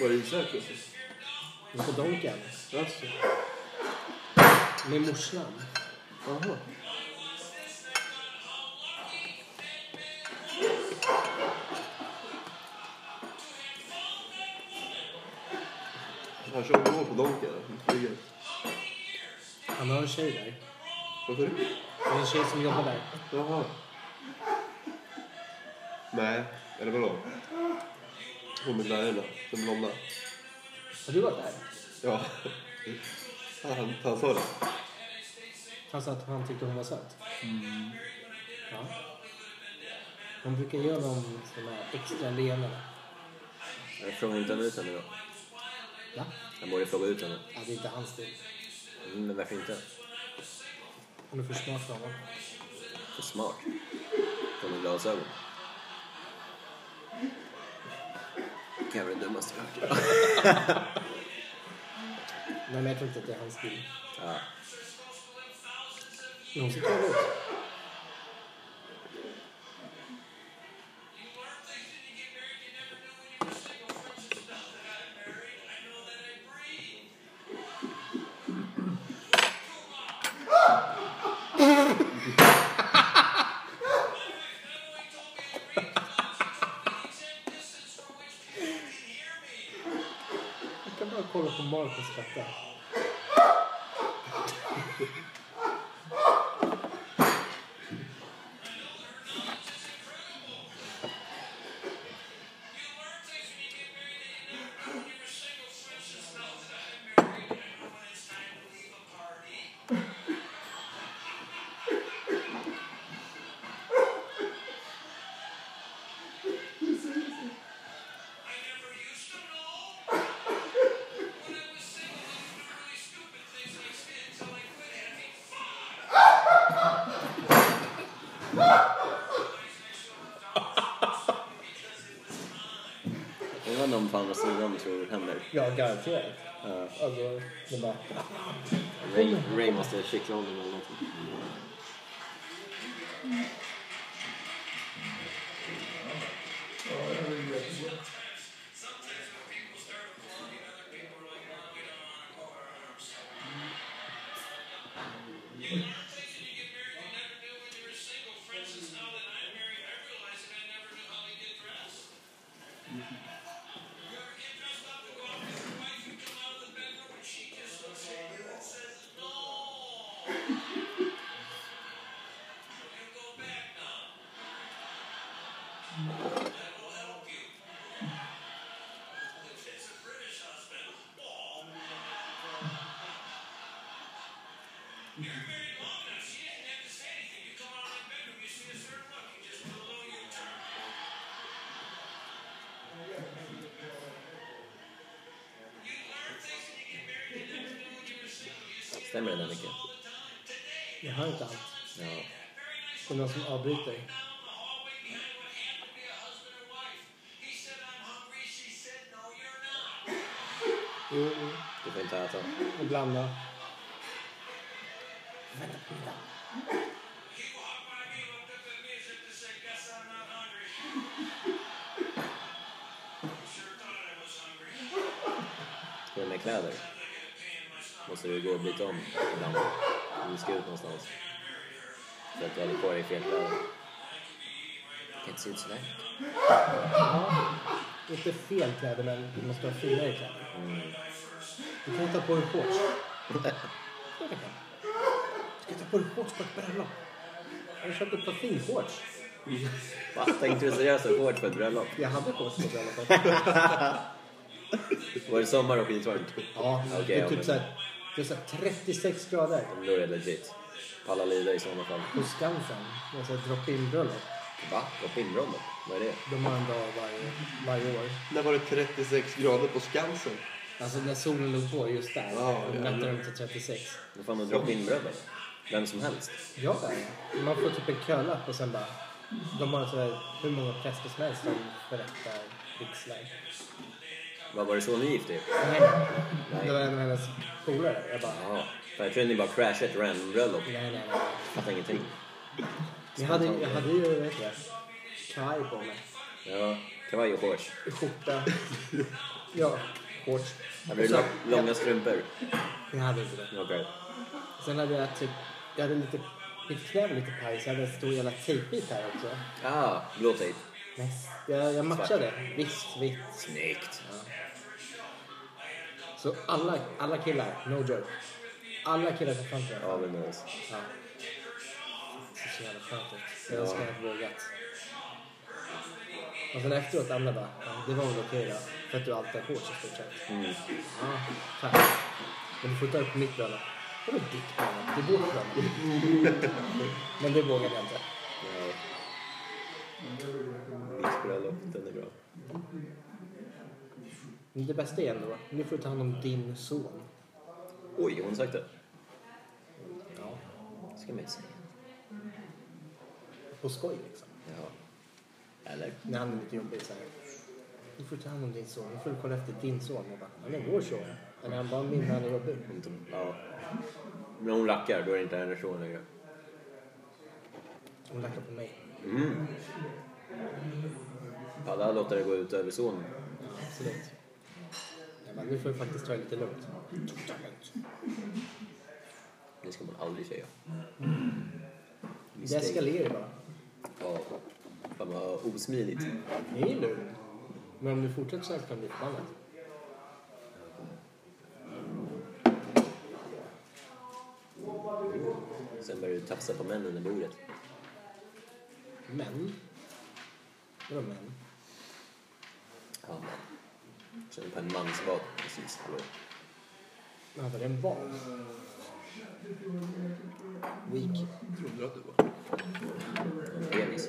Speaker 3: Var det Isak? alltså?
Speaker 2: På Donken.
Speaker 3: Alltså.
Speaker 2: Med morsan.
Speaker 3: Jaha. Han kör omgång på Donken. Flyger.
Speaker 2: Han har en tjej där.
Speaker 3: Varför?
Speaker 2: Det är en tjej som jobbar där.
Speaker 3: Jaha. Nej, eller vadå? Hon med glajjorna, den blonda.
Speaker 2: Har du varit där?
Speaker 3: Ja. [laughs] Han, han sa det.
Speaker 2: Han sa att han tyckte hon var söt. Mm. Ja. Hon brukar göra de såna här extra leendena.
Speaker 8: Jag frågar inte henne ut henne då.
Speaker 2: Va?
Speaker 8: Jag borde fråga ut henne.
Speaker 2: Ja, det är inte hans stil.
Speaker 8: Mm, Men varför inte?
Speaker 2: Hon är för smart för honom.
Speaker 8: Så smart. Får med glasögon. Det kan vara det dummaste jag hört.
Speaker 2: Nej, men jag tror inte att det är hans stil.
Speaker 8: Ja.
Speaker 2: Men hon ser trevlig ut. Jag kan bara kolla på Marcus skratta.
Speaker 8: Undrar om de på andra sidan tror händer.
Speaker 2: Ja, garanterat. Alltså, det bara...
Speaker 8: Ray, Ray måste kittla honom eller någonting.
Speaker 1: Stämmer det där mycket?
Speaker 2: Jag hör inte allt.
Speaker 1: Ja.
Speaker 2: Det är någon som avbryter. Jo, jo.
Speaker 1: Du får inte äta.
Speaker 2: Och blanda.
Speaker 1: Till och med kläder. Måste du gå och byta om ibland. Om du ska ut någonstans. För att du hade på dig fel kläder. Kan inte se ut sådär.
Speaker 2: Ja. Inte fel kläder, men du måste ha finare kläder. Du kan ju ta på dig shorts. Klart du kan. Du kan ta på dig shorts på ett bröllop. Har du köpt ett par finshorts?
Speaker 1: Va? Tänkte du seriöst och hårt på ett bröllop?
Speaker 2: Jag hade shorts på
Speaker 1: [laughs]
Speaker 2: bröllopet.
Speaker 1: Var det sommar och skitvarmt?
Speaker 2: Ja,
Speaker 1: Okej,
Speaker 2: det är
Speaker 1: ja,
Speaker 2: typ
Speaker 1: men-
Speaker 2: såhär, det är såhär 36 grader.
Speaker 1: Men Då är det legit. Palla lida i sådana fall.
Speaker 2: På Skansen, det är såhär drop-in bröllop.
Speaker 1: Va? Och pinnbröllop? Vad är det?
Speaker 2: De har en dag varje, varje år.
Speaker 3: När var det 36 grader på Skansen?
Speaker 2: Alltså när solen låg på just där,
Speaker 3: Ja,
Speaker 2: då
Speaker 3: ja,
Speaker 2: mätte
Speaker 3: ja.
Speaker 2: de till 36.
Speaker 1: Vad fan har drop in bröllop? Vem som helst?
Speaker 2: Ja, man får typ en kölapp och sen bara... De har sådär hur många präster som helst som berättar vigslar.
Speaker 1: Vad var det så ni gifte er?
Speaker 2: Nej, Det var en av hennes polare. Jag bara,
Speaker 1: Jaha. Fan, Jag trodde ni bara crashade ett random bröllop.
Speaker 2: nej, nej, nej.
Speaker 1: Fattar ingenting.
Speaker 2: Jag hade, jag hade ju, vad heter det, kaj på mig.
Speaker 1: Ja, kavaj och shorts.
Speaker 2: [laughs] Skjorta. Ja, shorts.
Speaker 1: Hade du lång- långa strumpor?
Speaker 2: Jag hade inte det.
Speaker 1: Okej.
Speaker 2: Sen hade jag typ, jag hade lite, mitt knä var lite paj så jag hade en stor jävla tejpbit här också.
Speaker 1: Ah, blå tejp.
Speaker 2: Nej, jag, jag matchade. Vitt, vitt.
Speaker 1: Snyggt.
Speaker 2: Så alla, alla killar, no joke. Alla killar på Fanta.
Speaker 1: Ja, men nice.
Speaker 2: Ja. Det är så jävla skönt ut. Jag önskar jag hade vågat. Och sen efteråt, andra bara, ja, det var väl okej då. För att du alltid har shorts i stort sett.
Speaker 1: Mm.
Speaker 2: Ja, tack. Men du får ta upp mitt bröllop. Vadå ditt bröllop? Det är vårt bröllop. Men det vågade jag inte.
Speaker 1: Ja. Mitt bröllop, den är bra.
Speaker 2: Men det bästa är ändå, nu får du ta hand om din son.
Speaker 1: Oj, har hon sagt det?
Speaker 2: Ja.
Speaker 1: Ska man inte säga.
Speaker 2: På skoj liksom.
Speaker 1: Jaha. Eller?
Speaker 2: När han är lite jobbig så här. Nu får du ta hand om din son. Nu får du kolla efter din son. Jag bara, han är vår son. Men han bara, min han är jobbig.
Speaker 1: Inte, ja. När hon rackar, då är det inte hennes son längre.
Speaker 2: Hon lackar på mig.
Speaker 1: Mm. Palla låter det gå ut över sonen.
Speaker 2: Absolut. Jag bara, nu får du faktiskt ta det lite lugnt.
Speaker 1: Det ska man aldrig säga.
Speaker 2: Det eskalerar ju bara.
Speaker 1: Ja. Fan vad osmidigt.
Speaker 2: Det är lugnt. Men om du fortsätter så här kan du bli förbannad.
Speaker 1: Sen börjar du tafsa på männen i bordet.
Speaker 2: Men. Vadå men?
Speaker 1: Ja, men. Känner på en mansbad precis. Hallå.
Speaker 2: Ja, var det en val? Weak.
Speaker 3: Trodde du att det var?
Speaker 1: En penis.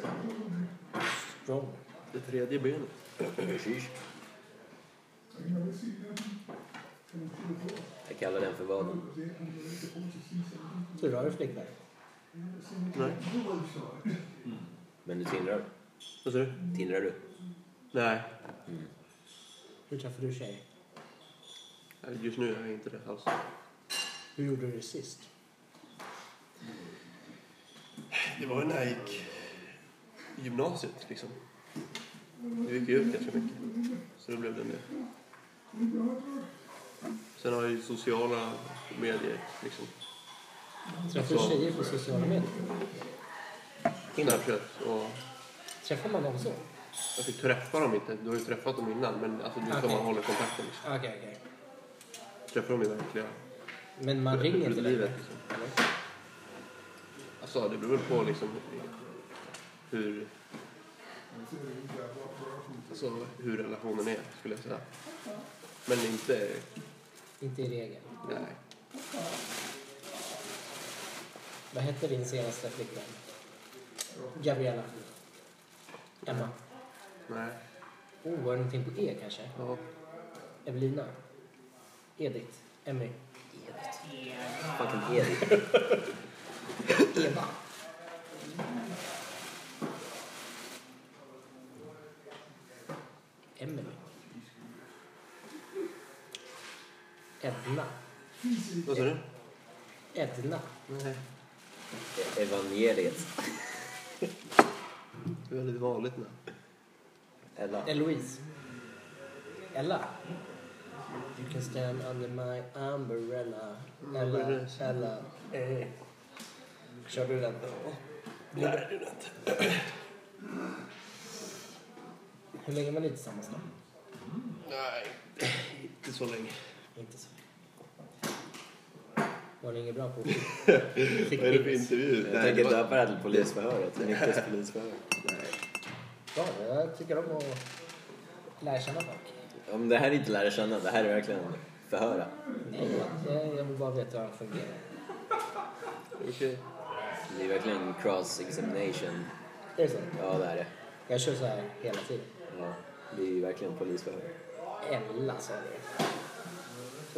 Speaker 2: Strong.
Speaker 3: Det tredje benet.
Speaker 1: Sheesh. Jag kallar den för vad?
Speaker 2: Så rör du flickvän?
Speaker 3: Nej.
Speaker 1: Men du tindrar.
Speaker 3: Vad sa du?
Speaker 1: Tindrar du?
Speaker 3: Nej.
Speaker 2: Hur träffade du tjejer?
Speaker 3: Just nu är jag inte det alls.
Speaker 2: Hur gjorde du det sist?
Speaker 3: Det var ju när jag gick i gymnasiet liksom. Jag gick ju ut ganska mycket. Så då blev det det. Sen har jag ju sociala medier liksom.
Speaker 2: Träffar du
Speaker 3: Så.
Speaker 2: tjejer på sociala medier?
Speaker 3: Snapchat och...
Speaker 2: Träffar man dem så?
Speaker 3: Jag fick träffa dem inte. Du har ju träffat dem innan men alltså det är så
Speaker 2: Okej.
Speaker 3: man håller kontakten liksom.
Speaker 2: Okej, okej.
Speaker 3: Träffar dem i verkliga...
Speaker 2: Men man ringer inte
Speaker 3: livet
Speaker 2: längre?
Speaker 3: liksom.
Speaker 2: Eller?
Speaker 3: Alltså det beror väl på liksom hur... Alltså hur relationen är skulle jag säga. Men inte...
Speaker 2: Inte i regel.
Speaker 3: Nej.
Speaker 2: Vad hette din senaste flickvän? Gabriella. Emma.
Speaker 3: Nej.
Speaker 2: Oh, var det någonting på E kanske?
Speaker 3: Ja.
Speaker 2: Evelina. Edith. Emmy.
Speaker 1: Exakt. Fucking Edith.
Speaker 2: Eva. Emily. Edna.
Speaker 3: Vad sa du?
Speaker 2: Edna.
Speaker 1: E- Evangeliet.
Speaker 3: Det är väldigt vanligt nu.
Speaker 1: Ella.
Speaker 2: Eloise. Ella. You can stand under my umbrella. Ella, Ella. Eh. Körde du den? Nej, det inte. Hur länge var ni tillsammans då?
Speaker 3: Nej, inte så länge.
Speaker 2: Inte så. Var ni inget bra på
Speaker 3: Vad är det för intervju?
Speaker 1: Jag
Speaker 3: Nej, det
Speaker 1: tänker
Speaker 3: var-
Speaker 1: döpa det här till polisförhöret. Nickes polisförhör.
Speaker 2: Ja, jag tycker om att lära känna folk.
Speaker 1: Om det här är inte lära känna, det här är verkligen förhöra.
Speaker 2: Nej, jag, jag vill bara veta hur han fungerar.
Speaker 3: Okej.
Speaker 1: Det är verkligen cross-examination.
Speaker 2: Är det så?
Speaker 1: Ja, det är det.
Speaker 2: Jag kör så här hela tiden.
Speaker 1: Ja, det är ju verkligen polisförhör.
Speaker 2: Ella sa det.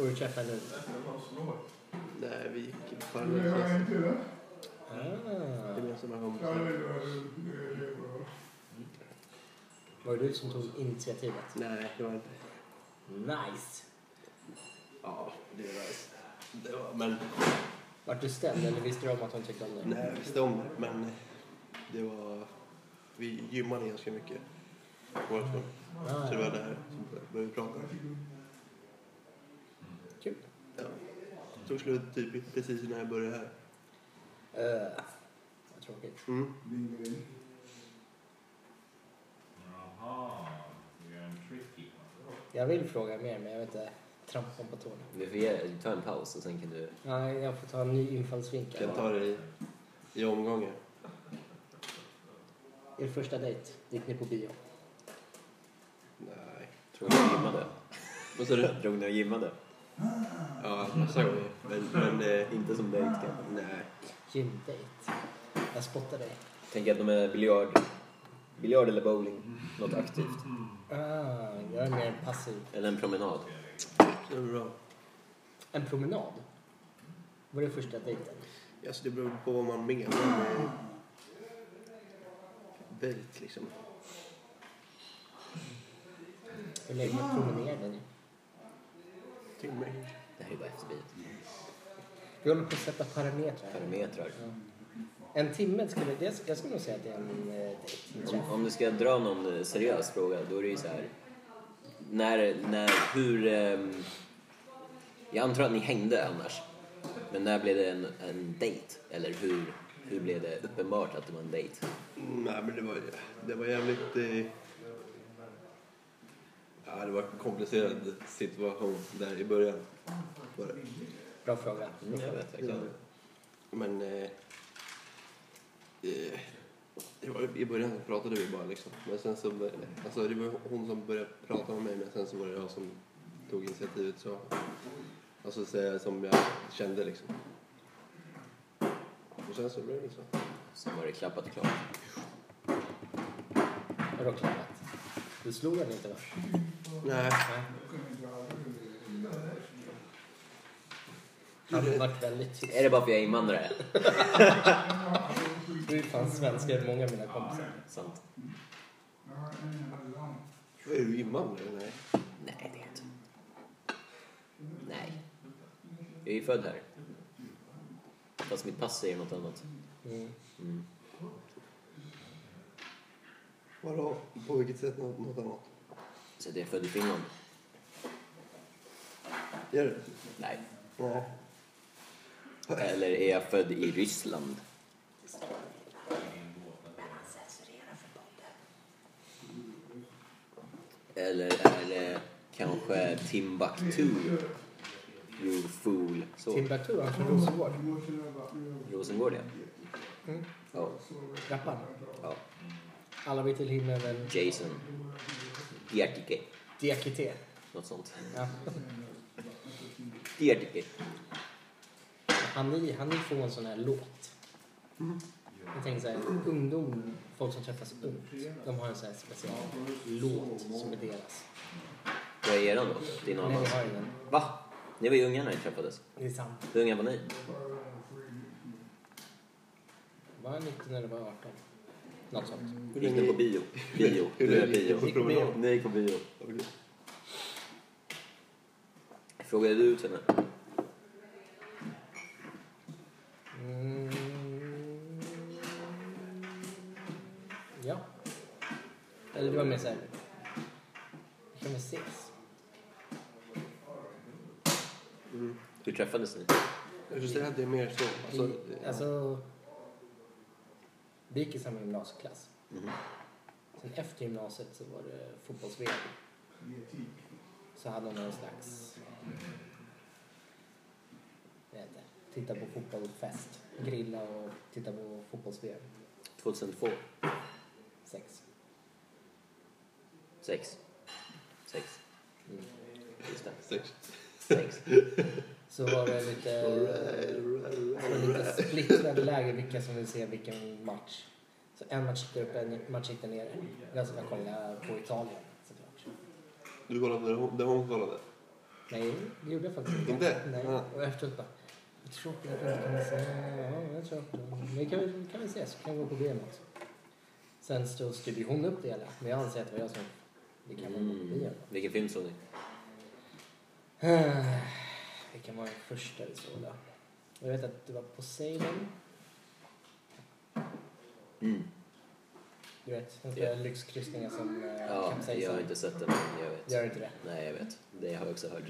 Speaker 2: Och du träffar henne ute?
Speaker 3: Nej, vi gick i parallellklass.
Speaker 2: Ah.
Speaker 3: Gemensamma kompisar.
Speaker 2: Var det du som tog initiativet?
Speaker 3: Nej, det var inte.
Speaker 2: Nice!
Speaker 3: Ja, det var... Det var men...
Speaker 2: Vart du ställd eller visste du om att hon tyckte om dig?
Speaker 3: Nej, jag visste om det, men det var... Vi gymmade ganska mycket. Vårt rum.
Speaker 2: Ah,
Speaker 3: Så det
Speaker 2: ja.
Speaker 3: var där som började vi prata.
Speaker 2: Kul.
Speaker 3: Ja. Tog slut typ precis när jag började här.
Speaker 2: Eh, vad tråkigt.
Speaker 3: Mm.
Speaker 4: Jaha, det är en tricky.
Speaker 2: Jag vill fråga mer men jag vet inte. Trampa på tårna.
Speaker 1: Du får ge, ta en paus och sen kan du...
Speaker 2: Nej, jag får ta en ny infallsvinkel.
Speaker 3: Kan ta det i, i omgångar.
Speaker 2: Er första dejt, gick ni på bio?
Speaker 3: Nej.
Speaker 1: Tror ni jag gymmade?
Speaker 3: Vad sa du?
Speaker 1: Drog ni och gymmade?
Speaker 3: Ja, massa gånger. Men, men eh,
Speaker 1: Inte som dejt kanske.
Speaker 3: nej.
Speaker 2: Gymdejt. Jag spottar dig.
Speaker 1: Tänk att de är biljard. Biljard eller bowling. Något aktivt.
Speaker 2: Ah, jag är mer passiv.
Speaker 1: Eller en promenad.
Speaker 3: Det var bra.
Speaker 2: En promenad? Var det första dejten?
Speaker 3: Alltså, det beror på vad man menar med dejt, liksom.
Speaker 2: Hur länge
Speaker 3: Ah.
Speaker 2: promenerade ni?
Speaker 3: Timme.
Speaker 1: Det här är ju bara efterblivet.
Speaker 2: Vi håller på att sätta parametrar.
Speaker 1: Parametrar.
Speaker 2: En timme skulle... det- Jag skulle nog säga att det är en eh, dejt.
Speaker 1: Om, om du ska dra någon eh, seriös fråga, då är det ju så här. När, när, hur... ehm, jag antar att ni hängde annars. Men när blev det en, en dejt? Eller hur, hur blev det uppenbart att det var en dejt?
Speaker 3: Nej, men det var, det var jävligt... Eh, ja, det var en komplicerad situation där i början. Var det. Liksom.
Speaker 2: Bra fråga.
Speaker 1: Mm, jag vet verkligen.
Speaker 3: Men... Eh, eh, det var, I början så pratade vi bara, liksom. Men sen så... bör- Alltså, det var hon som började prata med mig, men sen så var det jag som tog initiativet. Så, alltså, så, som jag kände, liksom. Och sen så blev det så.
Speaker 1: Sen var det klappat och klart.
Speaker 2: Har du klarat? Du slog henne inte va?
Speaker 3: Nej.
Speaker 2: Han vart väldigt
Speaker 1: Är
Speaker 2: tyst.
Speaker 1: det bara för jag är invandrare?
Speaker 2: Du är fan svenskare än många av mina kompisar.
Speaker 1: Sant.
Speaker 3: Är du invandrare? Nej.
Speaker 1: Nej, det är jag inte. Nej. Jag är ju född här. Fast mitt pass säger något annat.
Speaker 2: Mm.
Speaker 3: Vadå? På vilket sätt något, något annat?
Speaker 1: Så att jag är född i Finland.
Speaker 3: Gör du?
Speaker 1: Nej.
Speaker 3: Nej.
Speaker 1: Eller är jag född i Ryssland? Eller är det kanske Timbuktu? You fool. Så.
Speaker 2: Timbuktu, han från Rosengård.
Speaker 1: Rosengård, ja.
Speaker 2: Mm.
Speaker 1: Ja.
Speaker 2: Rapparen.
Speaker 1: ja.
Speaker 2: Alla vill till himlen.
Speaker 1: Jason. Diakike.
Speaker 2: Diakité.
Speaker 1: Något sånt.
Speaker 2: Ja.
Speaker 1: Diakike.
Speaker 2: Han är, han är från en sån här låt.
Speaker 1: Mm.
Speaker 2: Jag tänker så här, ungdom, folk som träffas ungt, de har en sån här speciell låt som är deras.
Speaker 1: Vad är eran då? Din och
Speaker 2: Nej, vi
Speaker 1: Annas?
Speaker 2: har ju den.
Speaker 1: Va? Ni var ju unga när ni träffades.
Speaker 2: Det är sant.
Speaker 1: Hur unga var ni?
Speaker 2: Var jag 19 eller var jag 18? Något sånt.
Speaker 1: Gick ni på bio? Bio.
Speaker 3: Hur
Speaker 1: Ni
Speaker 3: länge
Speaker 1: är
Speaker 3: gick du på
Speaker 1: bio.
Speaker 3: promenad?
Speaker 1: Ni gick på bio.
Speaker 3: Okej.
Speaker 1: Frågade du ut henne?
Speaker 2: Mm. Ja. Eller det var mer såhär... Kan vi ses?
Speaker 1: Hur träffades ni?
Speaker 3: Jag skulle säga att det är mer så. Alltså,
Speaker 2: Vi, alltså, vi gick i samma gymnasieklass. Sen efter gymnasiet så var det fotbolls Så hade han någon slags... Jag vet inte. Titta på fotboll och fest. Grilla och titta på fotbolls
Speaker 1: 2002?
Speaker 2: Sex.
Speaker 1: Sex? Sex?
Speaker 2: Mm.
Speaker 1: Just det.
Speaker 3: Sex.
Speaker 1: Sex.
Speaker 2: Så var det lite, det var lite splittrade läger vilka som vill se vilken match. Så en match sitter uppe, en match sitter nere. Den som jag kollade på Italien såklart.
Speaker 3: Du kollade där hon, där hon kollade?
Speaker 2: Nej, det gjorde jag faktiskt inte.
Speaker 3: Inte?
Speaker 2: Nej.
Speaker 3: Ja.
Speaker 2: Och efteråt bara, vad tråkigt att jag inte kan se. Ja, jag tror att- Men kan vi, kan vi ses, så kan vi gå på ben också. Sen så styrde hon upp det hela, men jag anser att det var jag som... Det kan man gå på bio. [sighs]
Speaker 1: Mm. Vilken film såg ni?
Speaker 2: Eh, Vilken var den första vi såg då? Jag vet att det var Poseidon.
Speaker 1: Mm.
Speaker 2: Du vet, den
Speaker 1: Ja.
Speaker 2: yeah. lyxkryssningen som eh,
Speaker 1: Ja, jag har
Speaker 2: kapsejsade.
Speaker 1: inte sett den, men jag vet.
Speaker 2: Gör inte det.
Speaker 1: Nej, jag vet. Det har jag också hört.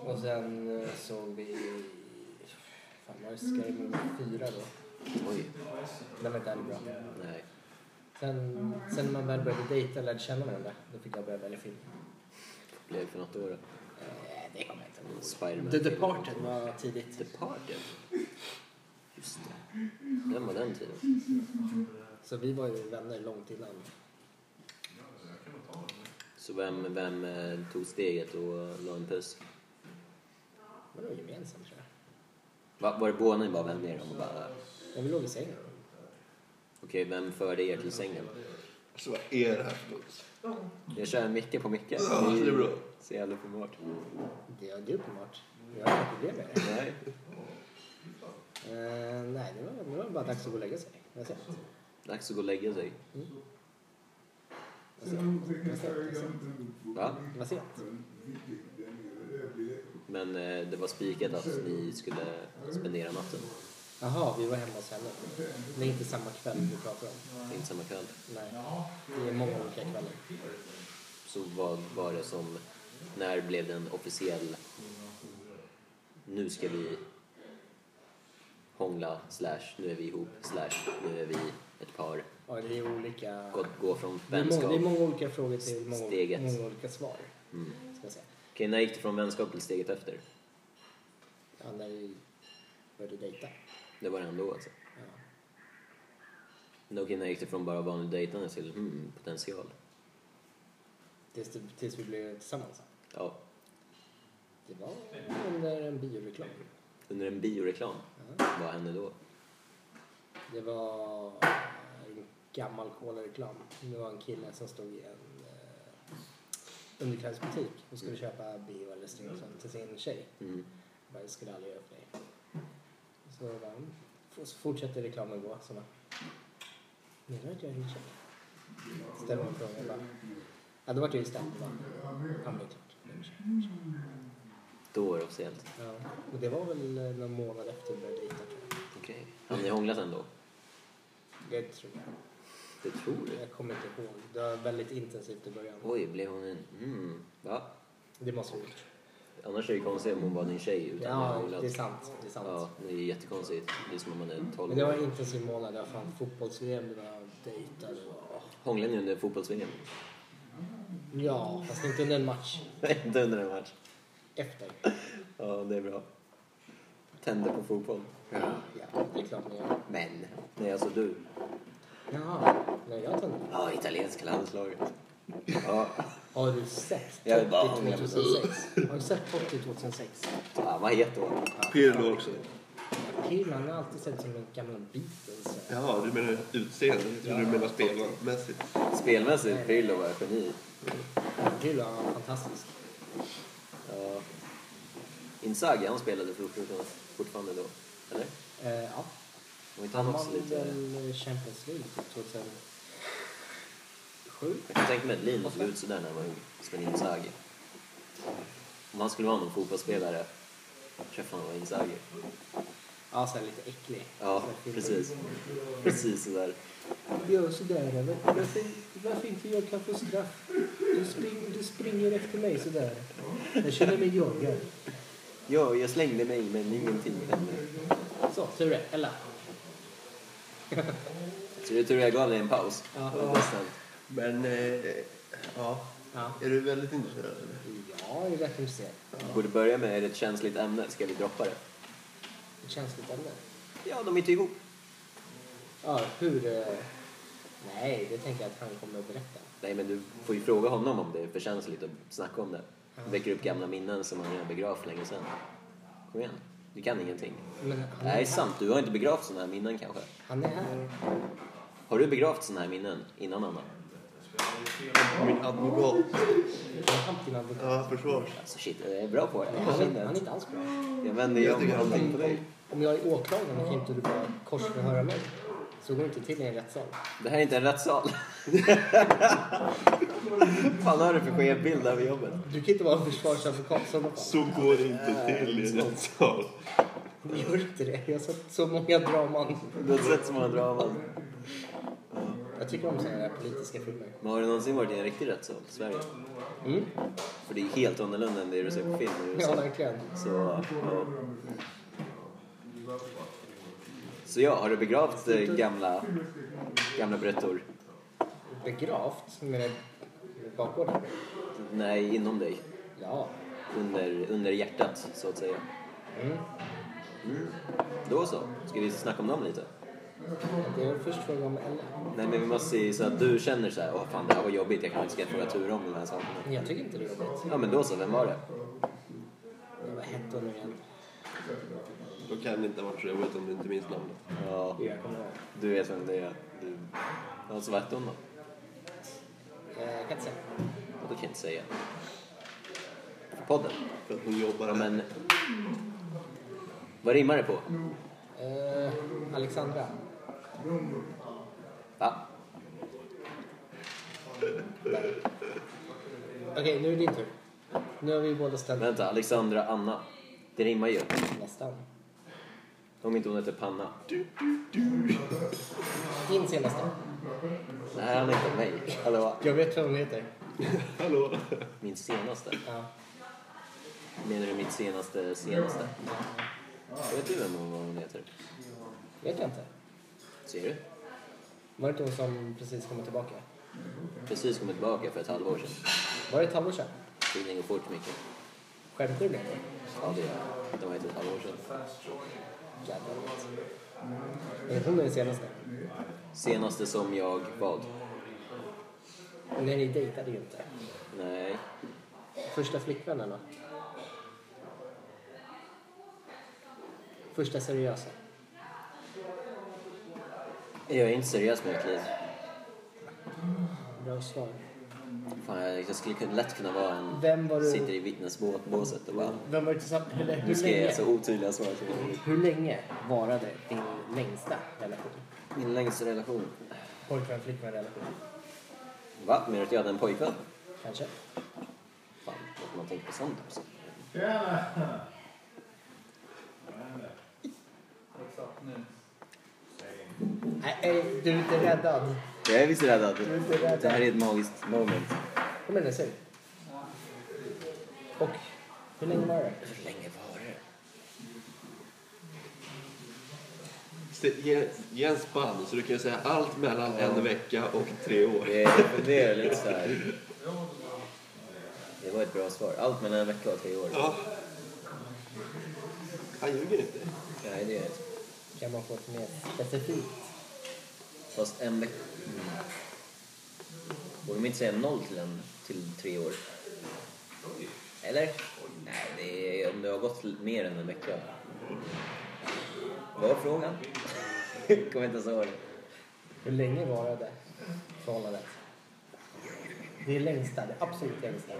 Speaker 2: Och sen eh, såg vi... Fan, var det Scary Movie 4 då?
Speaker 1: Oj.
Speaker 2: Den var inte alls bra.
Speaker 1: Nej.
Speaker 2: Sen, sen när man väl började dejta och lärde känna varandra, då fick jag börja välja film.
Speaker 1: Blev för något år.
Speaker 2: Eh, det kommer jag inte ihåg.
Speaker 1: Spiderman.
Speaker 2: The Departed var tidigt.
Speaker 1: Departed? Just det. Den var den tiden.
Speaker 2: Så vi var ju vänner långt innan.
Speaker 1: Så vem, vem eh, tog steget och la en puss?
Speaker 2: Men det var gemensamt tror jag.
Speaker 1: Va, var det båda ni bara vände er om och bara...
Speaker 2: Men vi låg i sängen.
Speaker 1: Okej, vem förde er till sängen?
Speaker 3: Alltså vad är det här för något?
Speaker 1: Jag kör Micke på Micke.
Speaker 3: Ja, det är bra.
Speaker 1: Så jävla uppenbart.
Speaker 2: Det är det är uppenbart. Jag har inga problem med det.
Speaker 1: Nej.
Speaker 2: Eh, nej, det var, det var bara dags att gå och lägga sig. Det var sent.
Speaker 1: Dags att gå och lägga sig.
Speaker 2: Det var sent. Det var sent. Det var sent.
Speaker 1: Va?
Speaker 2: Det var sent.
Speaker 1: Men eh, det var spikat att ni skulle spendera natten.
Speaker 2: Jaha, vi var hemma hos henne. Det är inte samma kväll vi pratar om.
Speaker 1: Inte samma kväll.
Speaker 2: Nej, det är många olika kvällar.
Speaker 1: Så vad var det som... När blev den officiell... Nu ska vi hångla, slash nu är vi ihop, slash nu är vi ett par.
Speaker 2: Ja, det är olika...
Speaker 1: Gå, gå från
Speaker 2: Det är, många, det är
Speaker 1: vänskap.
Speaker 2: många olika frågor till många,
Speaker 1: Steget.
Speaker 2: många olika svar.
Speaker 1: Mm.
Speaker 2: Ska jag säga.
Speaker 1: Okej, när gick det från vänskap till steget efter?
Speaker 2: Ja, när vi började dejta.
Speaker 1: Det var det ändå alltså.
Speaker 2: Ja.
Speaker 1: Men Okej, när gick det från bara vanligt dejtande till hmm, potential?
Speaker 2: Tills, tills vi blev tillsammans.
Speaker 1: Ja,
Speaker 2: Det var under en bioreklam.
Speaker 1: under en bioreklam.
Speaker 2: Ja.
Speaker 1: Vad hände då?
Speaker 2: Det var en gammal colareklam. Det var en kille som stod i en eh, underklädesbutik och skulle köpa bio eller stringsen till sin tjej.
Speaker 1: Mm.
Speaker 2: Jag bara, det skulle jag aldrig göra för dig. Så, jag bara, mm. F- så fortsätter reklamen gå. Så bara, menar du att jag är din tjej? Ställer man frågan. jag bara, Ja, då vart jag ju stämd. Jag bara, Ja, men det är klart. det är min tjej.
Speaker 1: Då var det officiellt.
Speaker 2: typ." Ja, och det var väl eh, någon månad efter vi började dejta tror jag.
Speaker 1: Okej. Har ni hånglat ändå?
Speaker 2: Det tror jag.
Speaker 1: Det tror du?
Speaker 2: Jag kommer inte ihåg. Det var väldigt intensivt i början.
Speaker 1: Oj, blev hon en... Mm, va?
Speaker 2: Det måste vi ha gjort.
Speaker 1: Annars är det konstigt om hon var din tjej utan att ha
Speaker 2: Ja,
Speaker 1: hånglat.
Speaker 2: det är sant. Det är sant.
Speaker 1: Ja, det är jättekonstigt. Mm. Det är som om man är 12
Speaker 2: Men det var
Speaker 1: år.
Speaker 2: en intensiv månad. Det var fan fotbolls-VM, det var dejtar, det var...
Speaker 1: Hånglade ni under [laughs] fotbolls-VM?
Speaker 2: Ja, fast inte under en match.
Speaker 1: Inte under en match.
Speaker 2: Efter.
Speaker 1: Ja, det är bra. Tände på fotboll.
Speaker 2: Ja, det är klart ni gör.
Speaker 1: Men, nej alltså du.
Speaker 2: Jaha, nej jag tände.
Speaker 1: Ja, italienska landslaget. Ja,
Speaker 2: Har du sett
Speaker 1: Jag vill bara
Speaker 2: Totti
Speaker 1: hångla med
Speaker 2: 2006? Har du sett Totti 2006?
Speaker 1: ja vad het hon
Speaker 3: Pirlo också.
Speaker 2: Pirlo, han har alltid sett som en gammal Beatles.
Speaker 3: Jaha, du menar utseende? Jag trodde du menade spelmässigt.
Speaker 1: Spelmässigt, Pirlo var ett geni.
Speaker 2: Pirlo, han var fantastisk.
Speaker 1: Ja. Inzaghi, han spelade för Uppsala fortfarande då, eller?
Speaker 2: Eh, ja.
Speaker 1: Var inte
Speaker 2: Han
Speaker 1: han
Speaker 2: vann
Speaker 1: också lite...
Speaker 2: väl Champions League typ 2007?
Speaker 1: Jag kan tänka mig att Lin såg ut sådär när han var ung, som en Inzaghi. Om han skulle vara någon fotbollsspelare, tror jag fan var Inzaghi.
Speaker 2: Ja, så här lite äcklig.
Speaker 1: Ja,
Speaker 2: Så här fin-
Speaker 1: precis. Precis sådär.
Speaker 2: Gör sådär. eller? Varför, varför inte jag kan få straff? Du, spring, du springer efter mig sådär. Jag känner mig jagad.
Speaker 1: Ja, jag slängde mig men ingenting hände.
Speaker 2: Så, tur är. Eller?
Speaker 1: Så det är tur jag gav dig en paus.
Speaker 2: Ja.
Speaker 1: Det var nästan-
Speaker 3: Men, eh, ja.
Speaker 2: Ja.
Speaker 3: Är du väldigt intresserad? eller?
Speaker 2: Ja, jag är rätt intresserad.
Speaker 1: Vi borde börja med, är det ett känsligt ämne? Ska vi droppa det?
Speaker 2: Ett känsligt ämne.
Speaker 1: Ja, de är inte ihop.
Speaker 2: Ja, hur... eh, Nej, det tänker jag att han kommer att berätta.
Speaker 1: Nej, men du får ju fråga honom om det är för känsligt att snacka om det. Väcker upp gamla minnen som han redan begravt länge sedan. Kom igen, du kan ingenting.
Speaker 2: Men han är,
Speaker 1: Nej, sant. Du har inte begravt sådana här minnen kanske.
Speaker 2: han är här.
Speaker 1: Har du begravt sådana här minnen innan, Anna?
Speaker 3: Min advokat.
Speaker 2: Han är din advokat.
Speaker 3: Ja, försvars.
Speaker 1: Alltså shit, jag är bra på det.
Speaker 2: Han
Speaker 1: Jag
Speaker 2: är,
Speaker 1: känner
Speaker 2: han är
Speaker 1: att
Speaker 2: inte alls bra.
Speaker 1: jag vänder ju
Speaker 3: Jag
Speaker 1: om
Speaker 3: tycker att-
Speaker 1: allting på dig.
Speaker 2: Om jag är åklagare kan inte du bara korsförhöra mig. Så går det inte till i en rättssal.
Speaker 1: Det här är inte en rättssal. fan har du för skev bild av jobbet?
Speaker 2: Du kan inte vara en försvarsadvokat i sådana fall.
Speaker 3: Så går det inte till i en rättssal.
Speaker 2: Gör inte det. Jag har sett så många draman.
Speaker 1: Du har sett så många draman.
Speaker 2: Jag tycker om sådana här politiska filmer.
Speaker 1: Men har du någonsin varit i en riktig rättssal i Sverige?
Speaker 2: Mm.
Speaker 1: För det är helt annorlunda än det du ser på film i
Speaker 2: Ja,
Speaker 1: USA.
Speaker 2: verkligen.
Speaker 1: Så, ja. Så ja, har du begravt eh, gamla, gamla bröttor?
Speaker 2: Begravt med, med bakgården.
Speaker 1: Nej, inom dig.
Speaker 2: Ja.
Speaker 1: Under, under hjärtat, så att säga.
Speaker 2: Mm.
Speaker 1: Mm. Då så. Ska vi snacka om dem lite?
Speaker 2: Det är först fråga om Ella.
Speaker 1: Nej, men vi måste se så att du känner så här, åh fan det här var jobbigt, jag kanske ska fråga tur om de här sakerna.
Speaker 2: Jag tycker inte det är jobbigt.
Speaker 1: Ja, men då så, vem var det?
Speaker 2: Men Vad hette hon nu igen?
Speaker 3: Då kan det inte ha varit så roligt om du inte minns namnet.
Speaker 1: Ja,
Speaker 2: Jo, Jag kommer ihåg.
Speaker 1: du vet vem det är. Du... Ja, så vad hette hon då?
Speaker 2: Eh, Jag kan inte säga.
Speaker 1: Ja, då kan jag inte säga. För podden?
Speaker 3: För att hon jobbar
Speaker 1: Ja,
Speaker 3: här.
Speaker 1: men... Vad rimmar det på?
Speaker 2: Eh, Alexandra.
Speaker 1: Va?
Speaker 2: Okej, nu är det din tur. Nu har vi båda ställt
Speaker 1: Vänta, Alexandra, Anna. Det rimmar ju.
Speaker 2: nästan.
Speaker 1: Om inte hon heter Panna.
Speaker 2: Din senaste.
Speaker 1: Det här handlar inte om mig. Hallå?
Speaker 2: Jag vet vad hon heter.
Speaker 3: Hallå?
Speaker 1: Min senaste.
Speaker 2: Ja.
Speaker 1: Menar du mitt senaste senaste? Vet du vem hon, vad hon heter?
Speaker 2: Vet jag inte.
Speaker 1: Ser du?
Speaker 2: Var det inte hon som precis kom tillbaka?
Speaker 1: Precis kommit tillbaka för ett halvår sedan.
Speaker 2: Var det ett halvår sedan?
Speaker 1: Tiden går fort, Micke.
Speaker 2: Skämtar du med mig?
Speaker 1: Ja, det gör jag. De var ett och ett halvår sedan.
Speaker 2: Jävlar vad roligt. Är hon den senaste?
Speaker 1: Senaste som jag vad?
Speaker 2: Nej, ni dejtade ju inte.
Speaker 1: Nej.
Speaker 2: Första flickvännen då? Första seriösa?
Speaker 1: Jag är inte seriös med mitt liv.
Speaker 2: Bra svar.
Speaker 1: Fan, jag, jag skulle kunna- lätt kunna vara en...
Speaker 2: Vem var du-
Speaker 1: Sitter i vittnesbåset och bara...
Speaker 2: Vem var du tillsammans med? Hur
Speaker 1: Nu ska jag
Speaker 2: länge,
Speaker 1: ge så otydliga svar som möjligt.
Speaker 2: hur länge varade din längsta relation?
Speaker 1: Min längsta relation.
Speaker 2: Pojkvän, flickvän, relation?
Speaker 1: Va? Menar du att jag hade en pojkvän?
Speaker 2: Kanske?
Speaker 1: Fan, låt man tänker på sånt också.
Speaker 6: Tjena!
Speaker 2: Nej, nej, du är inte räddad.
Speaker 1: Jag är visst rädd att
Speaker 2: är inte rädd.
Speaker 1: det här är ett magiskt moment.
Speaker 2: Kom igen nu, säg. Och hur länge var det?
Speaker 1: Hur länge var det?
Speaker 3: Se- Ge, ge en spann så du kan säga allt mellan en vecka och tre år.
Speaker 1: Det är, det är lite så här... Det var ett bra svar. Allt mellan en vecka och tre år.
Speaker 3: Ja. Han ljuger inte.
Speaker 1: Nej, det är det.
Speaker 2: Kan man få ett mer specifikt?
Speaker 1: Fast en vecka... Borde man inte säga noll till en till tre år? Eller? Nej, det är om det har gått mer än en vecka. Vad var frågan? [laughs] Kommer inte ens ihåg det.
Speaker 2: Hur länge varade förhållandet? Det är längsta, det absolut längsta.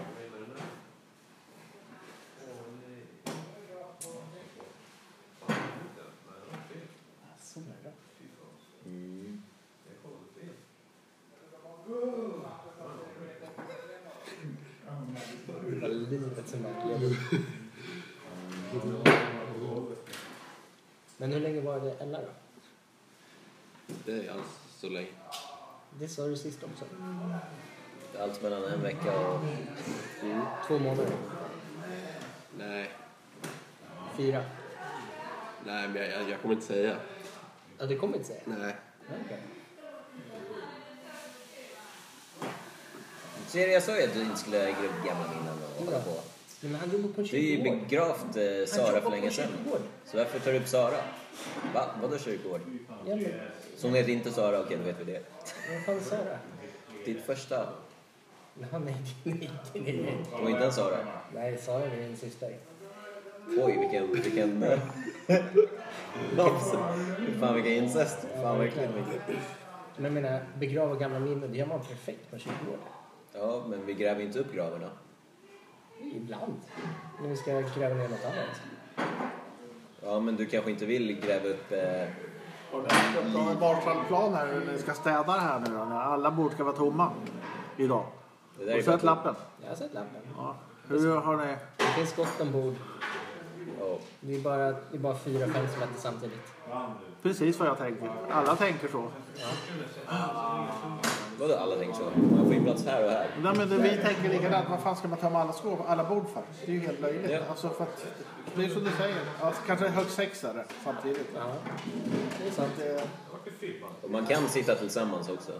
Speaker 2: Mm. förlora livet som jag lever. Men hur länge var det Ella då?
Speaker 3: Det är alls så länge.
Speaker 2: Det sa du sist också.
Speaker 1: Det är Allt mellan en vecka och... Mm.
Speaker 2: Två månader.
Speaker 3: Nej,
Speaker 2: Fyra.
Speaker 3: nej men jag, jag, jag kommer inte säga.
Speaker 2: Ja, det kommer inte säga.
Speaker 3: Nej.
Speaker 2: Okej.
Speaker 1: Ser du, jag sa ju att du inte skulle gro- gräva minnen och hålla på.
Speaker 2: Men han jobbar på en
Speaker 1: Du är ju
Speaker 2: kyrkogård.
Speaker 1: begravt eh,
Speaker 2: Han jobbar
Speaker 1: Sara
Speaker 2: på
Speaker 1: för
Speaker 2: en
Speaker 1: länge sedan.
Speaker 2: kyrkogård.
Speaker 1: Så varför tar du upp Sara? Va? Vadå kyrkogård?
Speaker 2: Ja, men
Speaker 1: Så hon heter inte Sara, okej då vet vi det.
Speaker 2: vad fan sa du?
Speaker 1: Ditt första,
Speaker 2: Ja, nej, nej, nej, nej.
Speaker 1: det var inte en Sara.
Speaker 2: Nej, Sara är min syster.
Speaker 1: Oj, vilken... vilken [laughs] eh, Fan vilken incest. Fan vad äckligt. vad äckligt.
Speaker 2: Men jag menar, begrava gamla minnen, det gör man perfekt på en kyrkogård.
Speaker 1: Ja, men vi gräver inte upp gravarna.
Speaker 2: Ibland. När vi ska gräva ner något annat.
Speaker 1: Ja, men du kanske inte vill gräva upp... Eh,
Speaker 9: Jag har en Marshallplan här när vi ska städa det här nu då. När alla bord ska vara tomma idag.
Speaker 1: det där är
Speaker 9: Och sätt
Speaker 1: faktiskt-
Speaker 9: lappen.
Speaker 2: Jag har sett lappen.
Speaker 9: Ja. Hur har ni?
Speaker 2: Det finns gott om bord.
Speaker 1: Ja.
Speaker 2: Det är bara, det är bara fyra, fem som äter samtidigt.
Speaker 9: Precis vad jag tänker. Alla tänker så.
Speaker 1: Vadå alla tänker så? Man får ju plats här och här.
Speaker 9: Nej, men det, vi tänker likadant. Vad fan ska man tömma alla skåp, alla bord för? Det är ju helt löjligt.
Speaker 1: Ja.
Speaker 9: Alltså för att, det är som du säger. Alltså, kanske högst sex är det samtidigt.
Speaker 2: Ja, det är sant.
Speaker 9: Det,
Speaker 1: Och man kan sitta tillsammans också.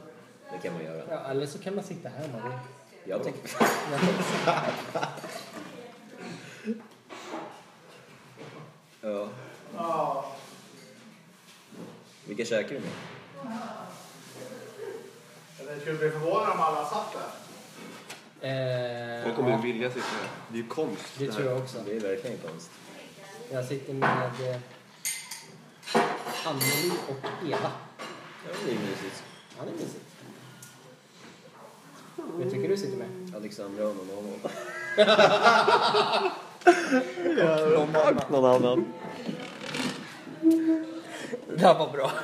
Speaker 1: Det kan man göra.
Speaker 2: Ja, eller så kan man sitta här om man vill.
Speaker 1: Jag tänker... [laughs] ja. Vilka käkar du med?
Speaker 9: jag skulle bli förvånad om alla satt där.
Speaker 3: Jag
Speaker 2: Eh,
Speaker 3: kommer ju vilja sitta här. Det är ju konst
Speaker 2: det tror
Speaker 3: här.
Speaker 2: jag också.
Speaker 1: Det är verkligen konst.
Speaker 2: Jag sitter med eh, Anneli och Eva.
Speaker 1: Ja, det är mysigt.
Speaker 2: Ja, det är mysigt. Hur tycker du sitter med?
Speaker 1: Alexandra och någon annan.
Speaker 2: Det här var bra.